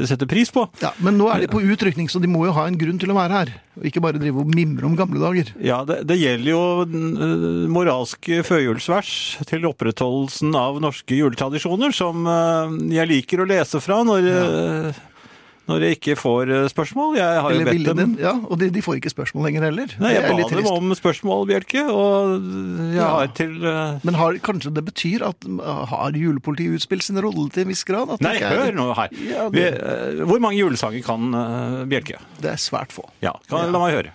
[SPEAKER 3] setter pris på.
[SPEAKER 2] Ja, Men nå er de på utrykning, så de må jo ha en grunn til å være her. Og ikke bare drive og mimre om gamle dager.
[SPEAKER 3] Ja, det, det gjelder jo eh, moralske førjulsvers til opprettholdelsen av norske juletradisjoner, som eh, jeg liker å lese fra når, eh, når jeg ikke får eh, spørsmål. Jeg har
[SPEAKER 2] Eller
[SPEAKER 3] jo bedt
[SPEAKER 2] ville
[SPEAKER 3] dem
[SPEAKER 2] dem. Ja, og de, de får ikke spørsmål lenger heller.
[SPEAKER 3] Nei, jeg
[SPEAKER 2] Det er
[SPEAKER 3] ba
[SPEAKER 2] litt
[SPEAKER 3] dem
[SPEAKER 2] trist.
[SPEAKER 3] om spørsmål, Bjelke, og jeg
[SPEAKER 2] Ja.
[SPEAKER 3] har til eh,
[SPEAKER 2] Men har, kanskje det betyr at har julepolitiet utspilt sin rolle til en viss grad? At det
[SPEAKER 3] Nei,
[SPEAKER 2] ikke er-
[SPEAKER 3] hør nå her.
[SPEAKER 2] Ja,
[SPEAKER 3] Vi,
[SPEAKER 2] det,
[SPEAKER 3] eh, hvor mange julesanger kan eh, Bjelke?
[SPEAKER 2] det er svært få.
[SPEAKER 3] Ja, kan, La meg høre.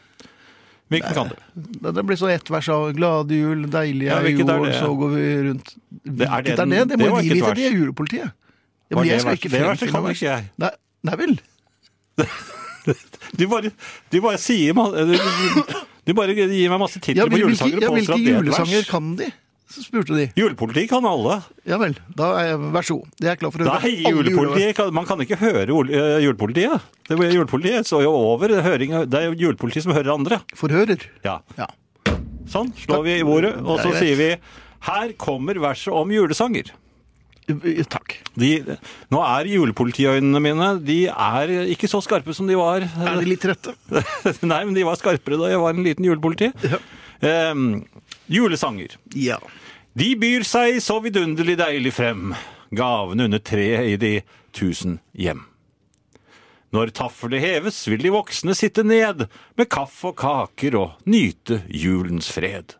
[SPEAKER 3] Hvilken kan du?
[SPEAKER 2] Det, det blir så ett vers av 'Glade jul, deilig
[SPEAKER 3] Ja,
[SPEAKER 2] er
[SPEAKER 3] hvilket er
[SPEAKER 2] jul,
[SPEAKER 3] det?
[SPEAKER 2] så går vi rundt'
[SPEAKER 3] Det er det
[SPEAKER 2] Hvilket er det? Det
[SPEAKER 3] den- det
[SPEAKER 2] må
[SPEAKER 3] var
[SPEAKER 2] de
[SPEAKER 3] ikke et
[SPEAKER 2] vite,
[SPEAKER 3] vers.
[SPEAKER 2] det er julepolitiet. Ja,
[SPEAKER 3] Var
[SPEAKER 2] men
[SPEAKER 3] det
[SPEAKER 2] jeg skal
[SPEAKER 3] vers?
[SPEAKER 2] ikke
[SPEAKER 3] Det verset
[SPEAKER 2] fremstille
[SPEAKER 3] kan
[SPEAKER 2] meg.
[SPEAKER 3] ikke jeg.
[SPEAKER 2] Nei, nei vel.
[SPEAKER 3] Du bare, du bare sier ma- du, du, du bare gir meg masse titler
[SPEAKER 2] Ja,
[SPEAKER 3] på
[SPEAKER 2] hvil- hvilke,
[SPEAKER 3] julesanger og
[SPEAKER 2] ja,
[SPEAKER 3] påstår
[SPEAKER 2] hvilke
[SPEAKER 3] at det er et
[SPEAKER 2] julesanger
[SPEAKER 3] vers.
[SPEAKER 2] kan de? Så spurte de.
[SPEAKER 3] Julepolitiet kan alle.
[SPEAKER 2] Ja vel. Da er jeg, vær så god. Det er jeg klar for å høre.
[SPEAKER 3] Nei,
[SPEAKER 2] Alle
[SPEAKER 3] julepolitiet kan, Man kan ikke høre ol- eh, julepolitiet. Det blir julepolitiet står jo over. Høring, det er jo julepolitiet som hører andre.
[SPEAKER 2] Forhører.
[SPEAKER 3] Ja.
[SPEAKER 2] Ja.
[SPEAKER 3] Sånn slår vi i bordet,
[SPEAKER 2] Det
[SPEAKER 3] og
[SPEAKER 2] er
[SPEAKER 3] så
[SPEAKER 2] greit.
[SPEAKER 3] sier vi her kommer verset om julesanger.
[SPEAKER 2] jule- Eh, Takk.
[SPEAKER 3] De, nå er julepolitiøynene mine De er ikke så skarpe som de var.
[SPEAKER 2] Er de litt trøtte?
[SPEAKER 3] Nei, men de var skarpere da jeg var en liten julepoliti. Ehm, julesanger.
[SPEAKER 2] Ja.
[SPEAKER 3] De byr seg så vidunderlig deilig frem, gavene under treet i de tusen hjem. Når taflet heves, vil de voksne sitte ned med kaffe og kaker og nyte julens fred.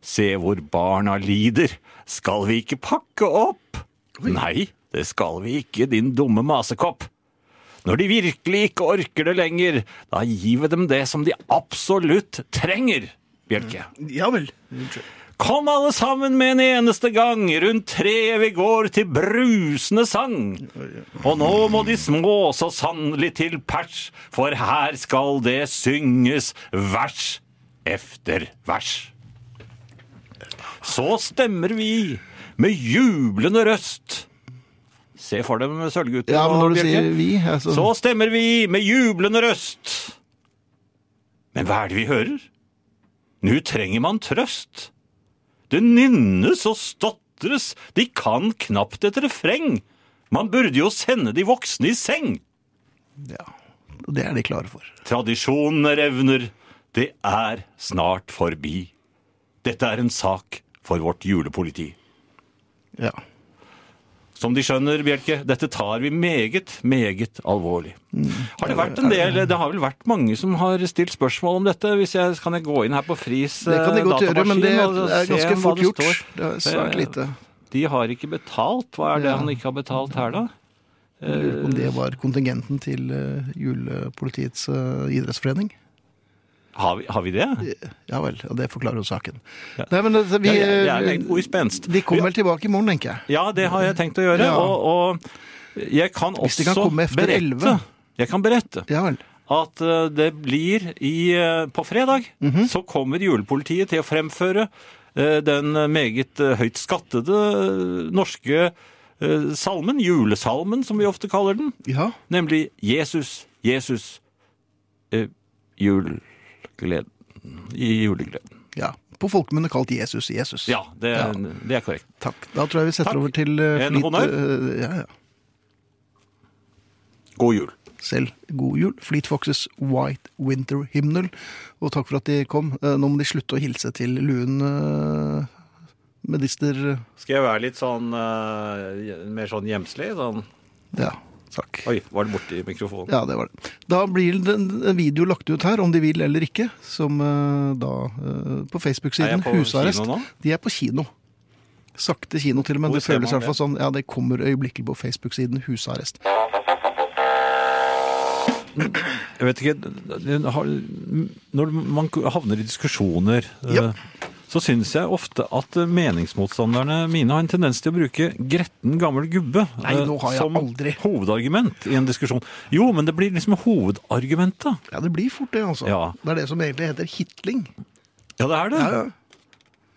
[SPEAKER 3] Se hvor barna lider, skal vi ikke pakke opp? Nei, det skal vi ikke, din dumme masekopp. Når de virkelig ikke orker det lenger, da gir vi dem det som de absolutt trenger, Bjelke.
[SPEAKER 2] Ja vel.
[SPEAKER 3] Kom alle sammen med en eneste gang, rundt treet vi går til brusende sang. Og nå må de små så sannelig til pers, for her skal det synges vers efter vers. Så stemmer vi med jublende røst. Se for dem Sølvgutten
[SPEAKER 2] Ja, men når
[SPEAKER 3] og
[SPEAKER 2] du sier
[SPEAKER 3] Bjørke.
[SPEAKER 2] vi altså,
[SPEAKER 3] Så stemmer vi med jublende røst. Men hva er det vi hører? Nå trenger man trøst. Det nynnes og stotres, de kan knapt et refreng. Man burde jo sende de voksne i seng.
[SPEAKER 2] Det er de klare for.
[SPEAKER 3] Tradisjonene revner, det er snart forbi. Dette er en sak for vårt julepoliti.
[SPEAKER 2] Ja.
[SPEAKER 3] Eh, Som de skjønner, Bjelke, dette tar vi meget, meget alvorlig.
[SPEAKER 2] Mm.
[SPEAKER 3] Har det vært en del, det har vel vært mange som har stilt spørsmål om dette, hvis jeg kan jeg gå inn her på Fris
[SPEAKER 2] Det kan de
[SPEAKER 3] eh,
[SPEAKER 2] godt gjøre, men det
[SPEAKER 3] datamaskin og
[SPEAKER 2] er
[SPEAKER 3] se
[SPEAKER 2] ganske
[SPEAKER 3] hva
[SPEAKER 2] fort
[SPEAKER 3] det
[SPEAKER 2] gjort.
[SPEAKER 3] står?
[SPEAKER 2] Det er svært
[SPEAKER 3] Eh,
[SPEAKER 2] lite.
[SPEAKER 3] De har ikke betalt. Hva er det han ikke har betalt her, da?
[SPEAKER 2] Jeg lurer på om det var kontingenten til eh, julepolitiets eh, idrettsforening.
[SPEAKER 3] Har vi, har vi det?
[SPEAKER 2] Ja vel, og det forklarer jo saken. Nei, men altså, vi,
[SPEAKER 3] Ja, jeg, jeg er litt god i spenst.
[SPEAKER 2] De kommer vel tilbake i morgen, tenker jeg.
[SPEAKER 3] Ja, det har jeg tenkt å gjøre.
[SPEAKER 2] Ja.
[SPEAKER 3] Og, og jeg kan
[SPEAKER 2] Hvis de
[SPEAKER 3] også
[SPEAKER 2] kan komme efter
[SPEAKER 3] berette
[SPEAKER 2] 11.
[SPEAKER 3] Jeg kan berette
[SPEAKER 2] Ja vel.
[SPEAKER 3] at eh, det blir i eh, På fredag så kommer julepolitiet til å fremføre eh, den meget eh, høyt skattede eh, norske eh, salmen, julesalmen som vi ofte kaller den,
[SPEAKER 2] Ja.
[SPEAKER 3] nemlig Jesus, Jesus, eh, julegleden. I julegleden.
[SPEAKER 2] ja. På folkemunne kalt Jesus Jesus.
[SPEAKER 3] Ja, det,
[SPEAKER 2] Ja.
[SPEAKER 3] det er korrekt.
[SPEAKER 2] Takk. Da tror jeg vi setter
[SPEAKER 3] Takk.
[SPEAKER 2] over til eh,
[SPEAKER 3] En
[SPEAKER 2] flit,
[SPEAKER 3] honnør.
[SPEAKER 2] eh, ja, ja.
[SPEAKER 3] God jul.
[SPEAKER 2] Selv god jul. Fleet Foxes White Winter Hymnal. Og takk for at de kom. Eh, Nå må de slutte å hilse til luen eh, medister
[SPEAKER 3] Skal jeg være litt sånn eh, mer sånn gjemslig? Sånn
[SPEAKER 2] Ja, takk.
[SPEAKER 3] Oi, var det borti mikrofonen?
[SPEAKER 2] Ja, det var det. Da blir det en video lagt ut her, om de vil eller ikke, som eh, da eh, på
[SPEAKER 3] Er
[SPEAKER 2] Facebook-siden
[SPEAKER 3] jeg på
[SPEAKER 2] Husarrest.
[SPEAKER 3] kino nå?
[SPEAKER 2] De er på kino. Sakte kino, til og med.
[SPEAKER 3] Hvor
[SPEAKER 2] Det
[SPEAKER 3] ser
[SPEAKER 2] føles i
[SPEAKER 3] man
[SPEAKER 2] hvert fall sånn. Ja, det kommer øyeblikkelig på Facebook-siden Husarrest.
[SPEAKER 3] Jeg vet ikke, det har- Når man havner i diskusjoner, eh, så syns jeg ofte at eh, meningsmotstanderne mine har en tendens til å bruke gretten gammel gubbe
[SPEAKER 2] Nei,
[SPEAKER 3] eh,
[SPEAKER 2] nå har jeg
[SPEAKER 3] som
[SPEAKER 2] aldri.
[SPEAKER 3] hovedargument i en diskusjon. Jo, men det blir liksom hovedargumentet.
[SPEAKER 2] Ja, det blir fort det, altså.
[SPEAKER 3] Ja.
[SPEAKER 2] Det er det som egentlig heter hitling.
[SPEAKER 3] Ja, det er det.
[SPEAKER 2] Ja, ja.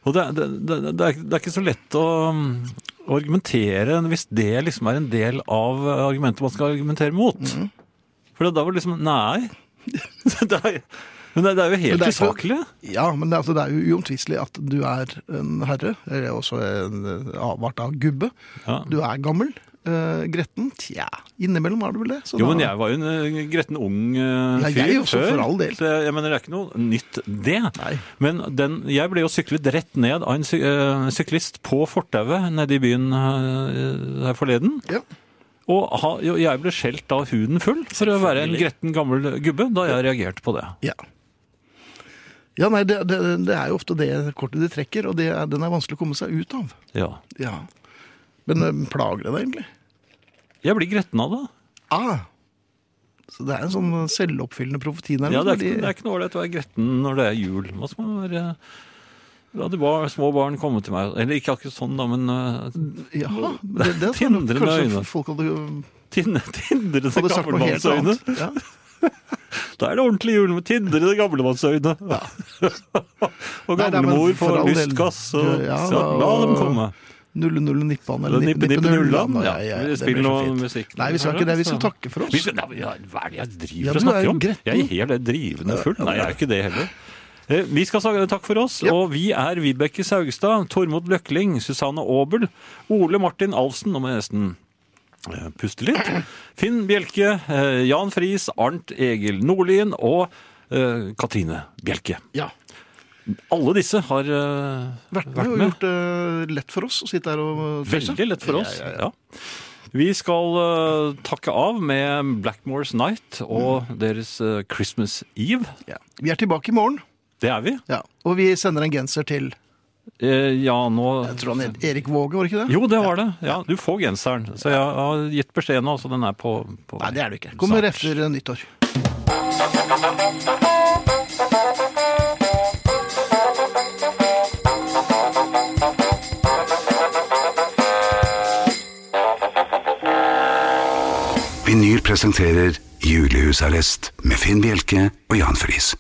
[SPEAKER 3] Og det, det, det, det, er, det er ikke så lett å mm, å argumentere hvis det liksom er en del av eh, argumentet man skal argumentere mot.
[SPEAKER 2] Mhm.
[SPEAKER 3] For da var det liksom Nei. det er, men det, det er jo
[SPEAKER 2] Men
[SPEAKER 3] helt
[SPEAKER 2] det er ikke-
[SPEAKER 3] usaklig.
[SPEAKER 2] Ja, men det, altså, det er jo uomtvistelig at du er en herre, eller også en eh, avart av gubbe. Du er gammel, eh, gretten. Tja, innimellom er du vel det. så
[SPEAKER 3] Jo,
[SPEAKER 2] da-
[SPEAKER 3] men jeg var jo en eh, gretten ung eh,
[SPEAKER 2] Ja,
[SPEAKER 3] fyr
[SPEAKER 2] jeg også,
[SPEAKER 3] før.
[SPEAKER 2] for all del.
[SPEAKER 3] Så jeg, jeg mener, det er ikke noe nytt, det. Men den, jeg ble jo syklet rett ned av en sy eh, syklist på fortauet nede i byen eh, her forleden. Og ha, jo, jeg ble skjelt av huden full for å være en gretten gammel gubbe da jeg reagerte på det.
[SPEAKER 2] Ja. Ja, nei, det, det, det er jo ofte det kortet de trekker, og det er, den er vanskelig å komme seg ut av.
[SPEAKER 3] Ja.
[SPEAKER 2] Ja. Men eh, plager det deg egentlig?
[SPEAKER 3] Jeg blir gretten av det.
[SPEAKER 2] Ah. Så det er en sånn selvoppfyllende profeti nærmest.
[SPEAKER 3] Ja, det er
[SPEAKER 2] fordi-
[SPEAKER 3] ikke, det er ikke noe ålreit å være gretten når det er jul. Man skal være, la de bar, små barn komme til meg. Eller ikke akkurat sånn, da, men eh,
[SPEAKER 2] Ja, det, det tror jeg
[SPEAKER 3] tindre med
[SPEAKER 2] kanskje
[SPEAKER 3] øynene.
[SPEAKER 2] folk hadde,
[SPEAKER 3] Tin- Tindrende
[SPEAKER 2] hadde sagt noe helt
[SPEAKER 3] gammelmannsøyne.
[SPEAKER 2] annet. Ja.
[SPEAKER 3] Da er det ordentlig jul med tindrende gammelmannsøyne. og
[SPEAKER 2] Nei, nei, men
[SPEAKER 3] gamlemor
[SPEAKER 2] for
[SPEAKER 3] får
[SPEAKER 2] all del.
[SPEAKER 3] lystgass. Og,
[SPEAKER 2] Ja,
[SPEAKER 3] så la
[SPEAKER 2] og-
[SPEAKER 3] dem komme.
[SPEAKER 2] Nulle, nulle, nippan.
[SPEAKER 3] Eller nippe, nippe, nullan.
[SPEAKER 2] nullan,
[SPEAKER 3] Ja,
[SPEAKER 2] det
[SPEAKER 3] Spill
[SPEAKER 2] blir så
[SPEAKER 3] noe
[SPEAKER 2] fint.
[SPEAKER 3] musikk.
[SPEAKER 2] Nei, vi skal ikke det. Vi skal
[SPEAKER 3] Så-
[SPEAKER 2] takke for oss.
[SPEAKER 3] Vi skal- Nei, men ja, Hva er det jeg driver
[SPEAKER 2] Ja,
[SPEAKER 3] og
[SPEAKER 2] du er
[SPEAKER 3] snakker
[SPEAKER 2] jo
[SPEAKER 3] om?
[SPEAKER 2] gretten.
[SPEAKER 3] Jeg er helt drivende full. Nei, jeg er ikke det heller. Eh, Vi skal si takk for oss, og vi er Vibeke Saugstad, Tormod Løkling, Susanne Aabel, Ole Martin Alfsen, nå må jeg nesten eh, puste litt, Finn Bjelke, eh, Jan Friis, Arnt Egil Nordlien og eh, Katrine Bjelke.
[SPEAKER 2] Ja.
[SPEAKER 3] Alle disse har eh, vært
[SPEAKER 2] Det har jo gjort det lett for oss å sitte her og tøyse.
[SPEAKER 3] Veldig lett for oss.
[SPEAKER 2] Ja,
[SPEAKER 3] Ja,
[SPEAKER 2] ja, ja.
[SPEAKER 3] Vi skal eh, takke av med Blackmore's Night og deres eh, Christmas Eve.
[SPEAKER 2] Vi er tilbake i morgen,
[SPEAKER 3] Det er vi.
[SPEAKER 2] ja. og vi sender en genser til
[SPEAKER 3] Eh, ja, nå
[SPEAKER 2] jeg tror han het Erik Våge, var det ikke det?
[SPEAKER 3] Jo, det var det. Ja, du får genseren. Så jeg har gitt beskjed nå, så den er på, på
[SPEAKER 2] Nei, det er det ikke. Kommer etter nyttår.
[SPEAKER 4] Vinyl presenterer Julehusarrest med Finn Bjelke og Jan Friis.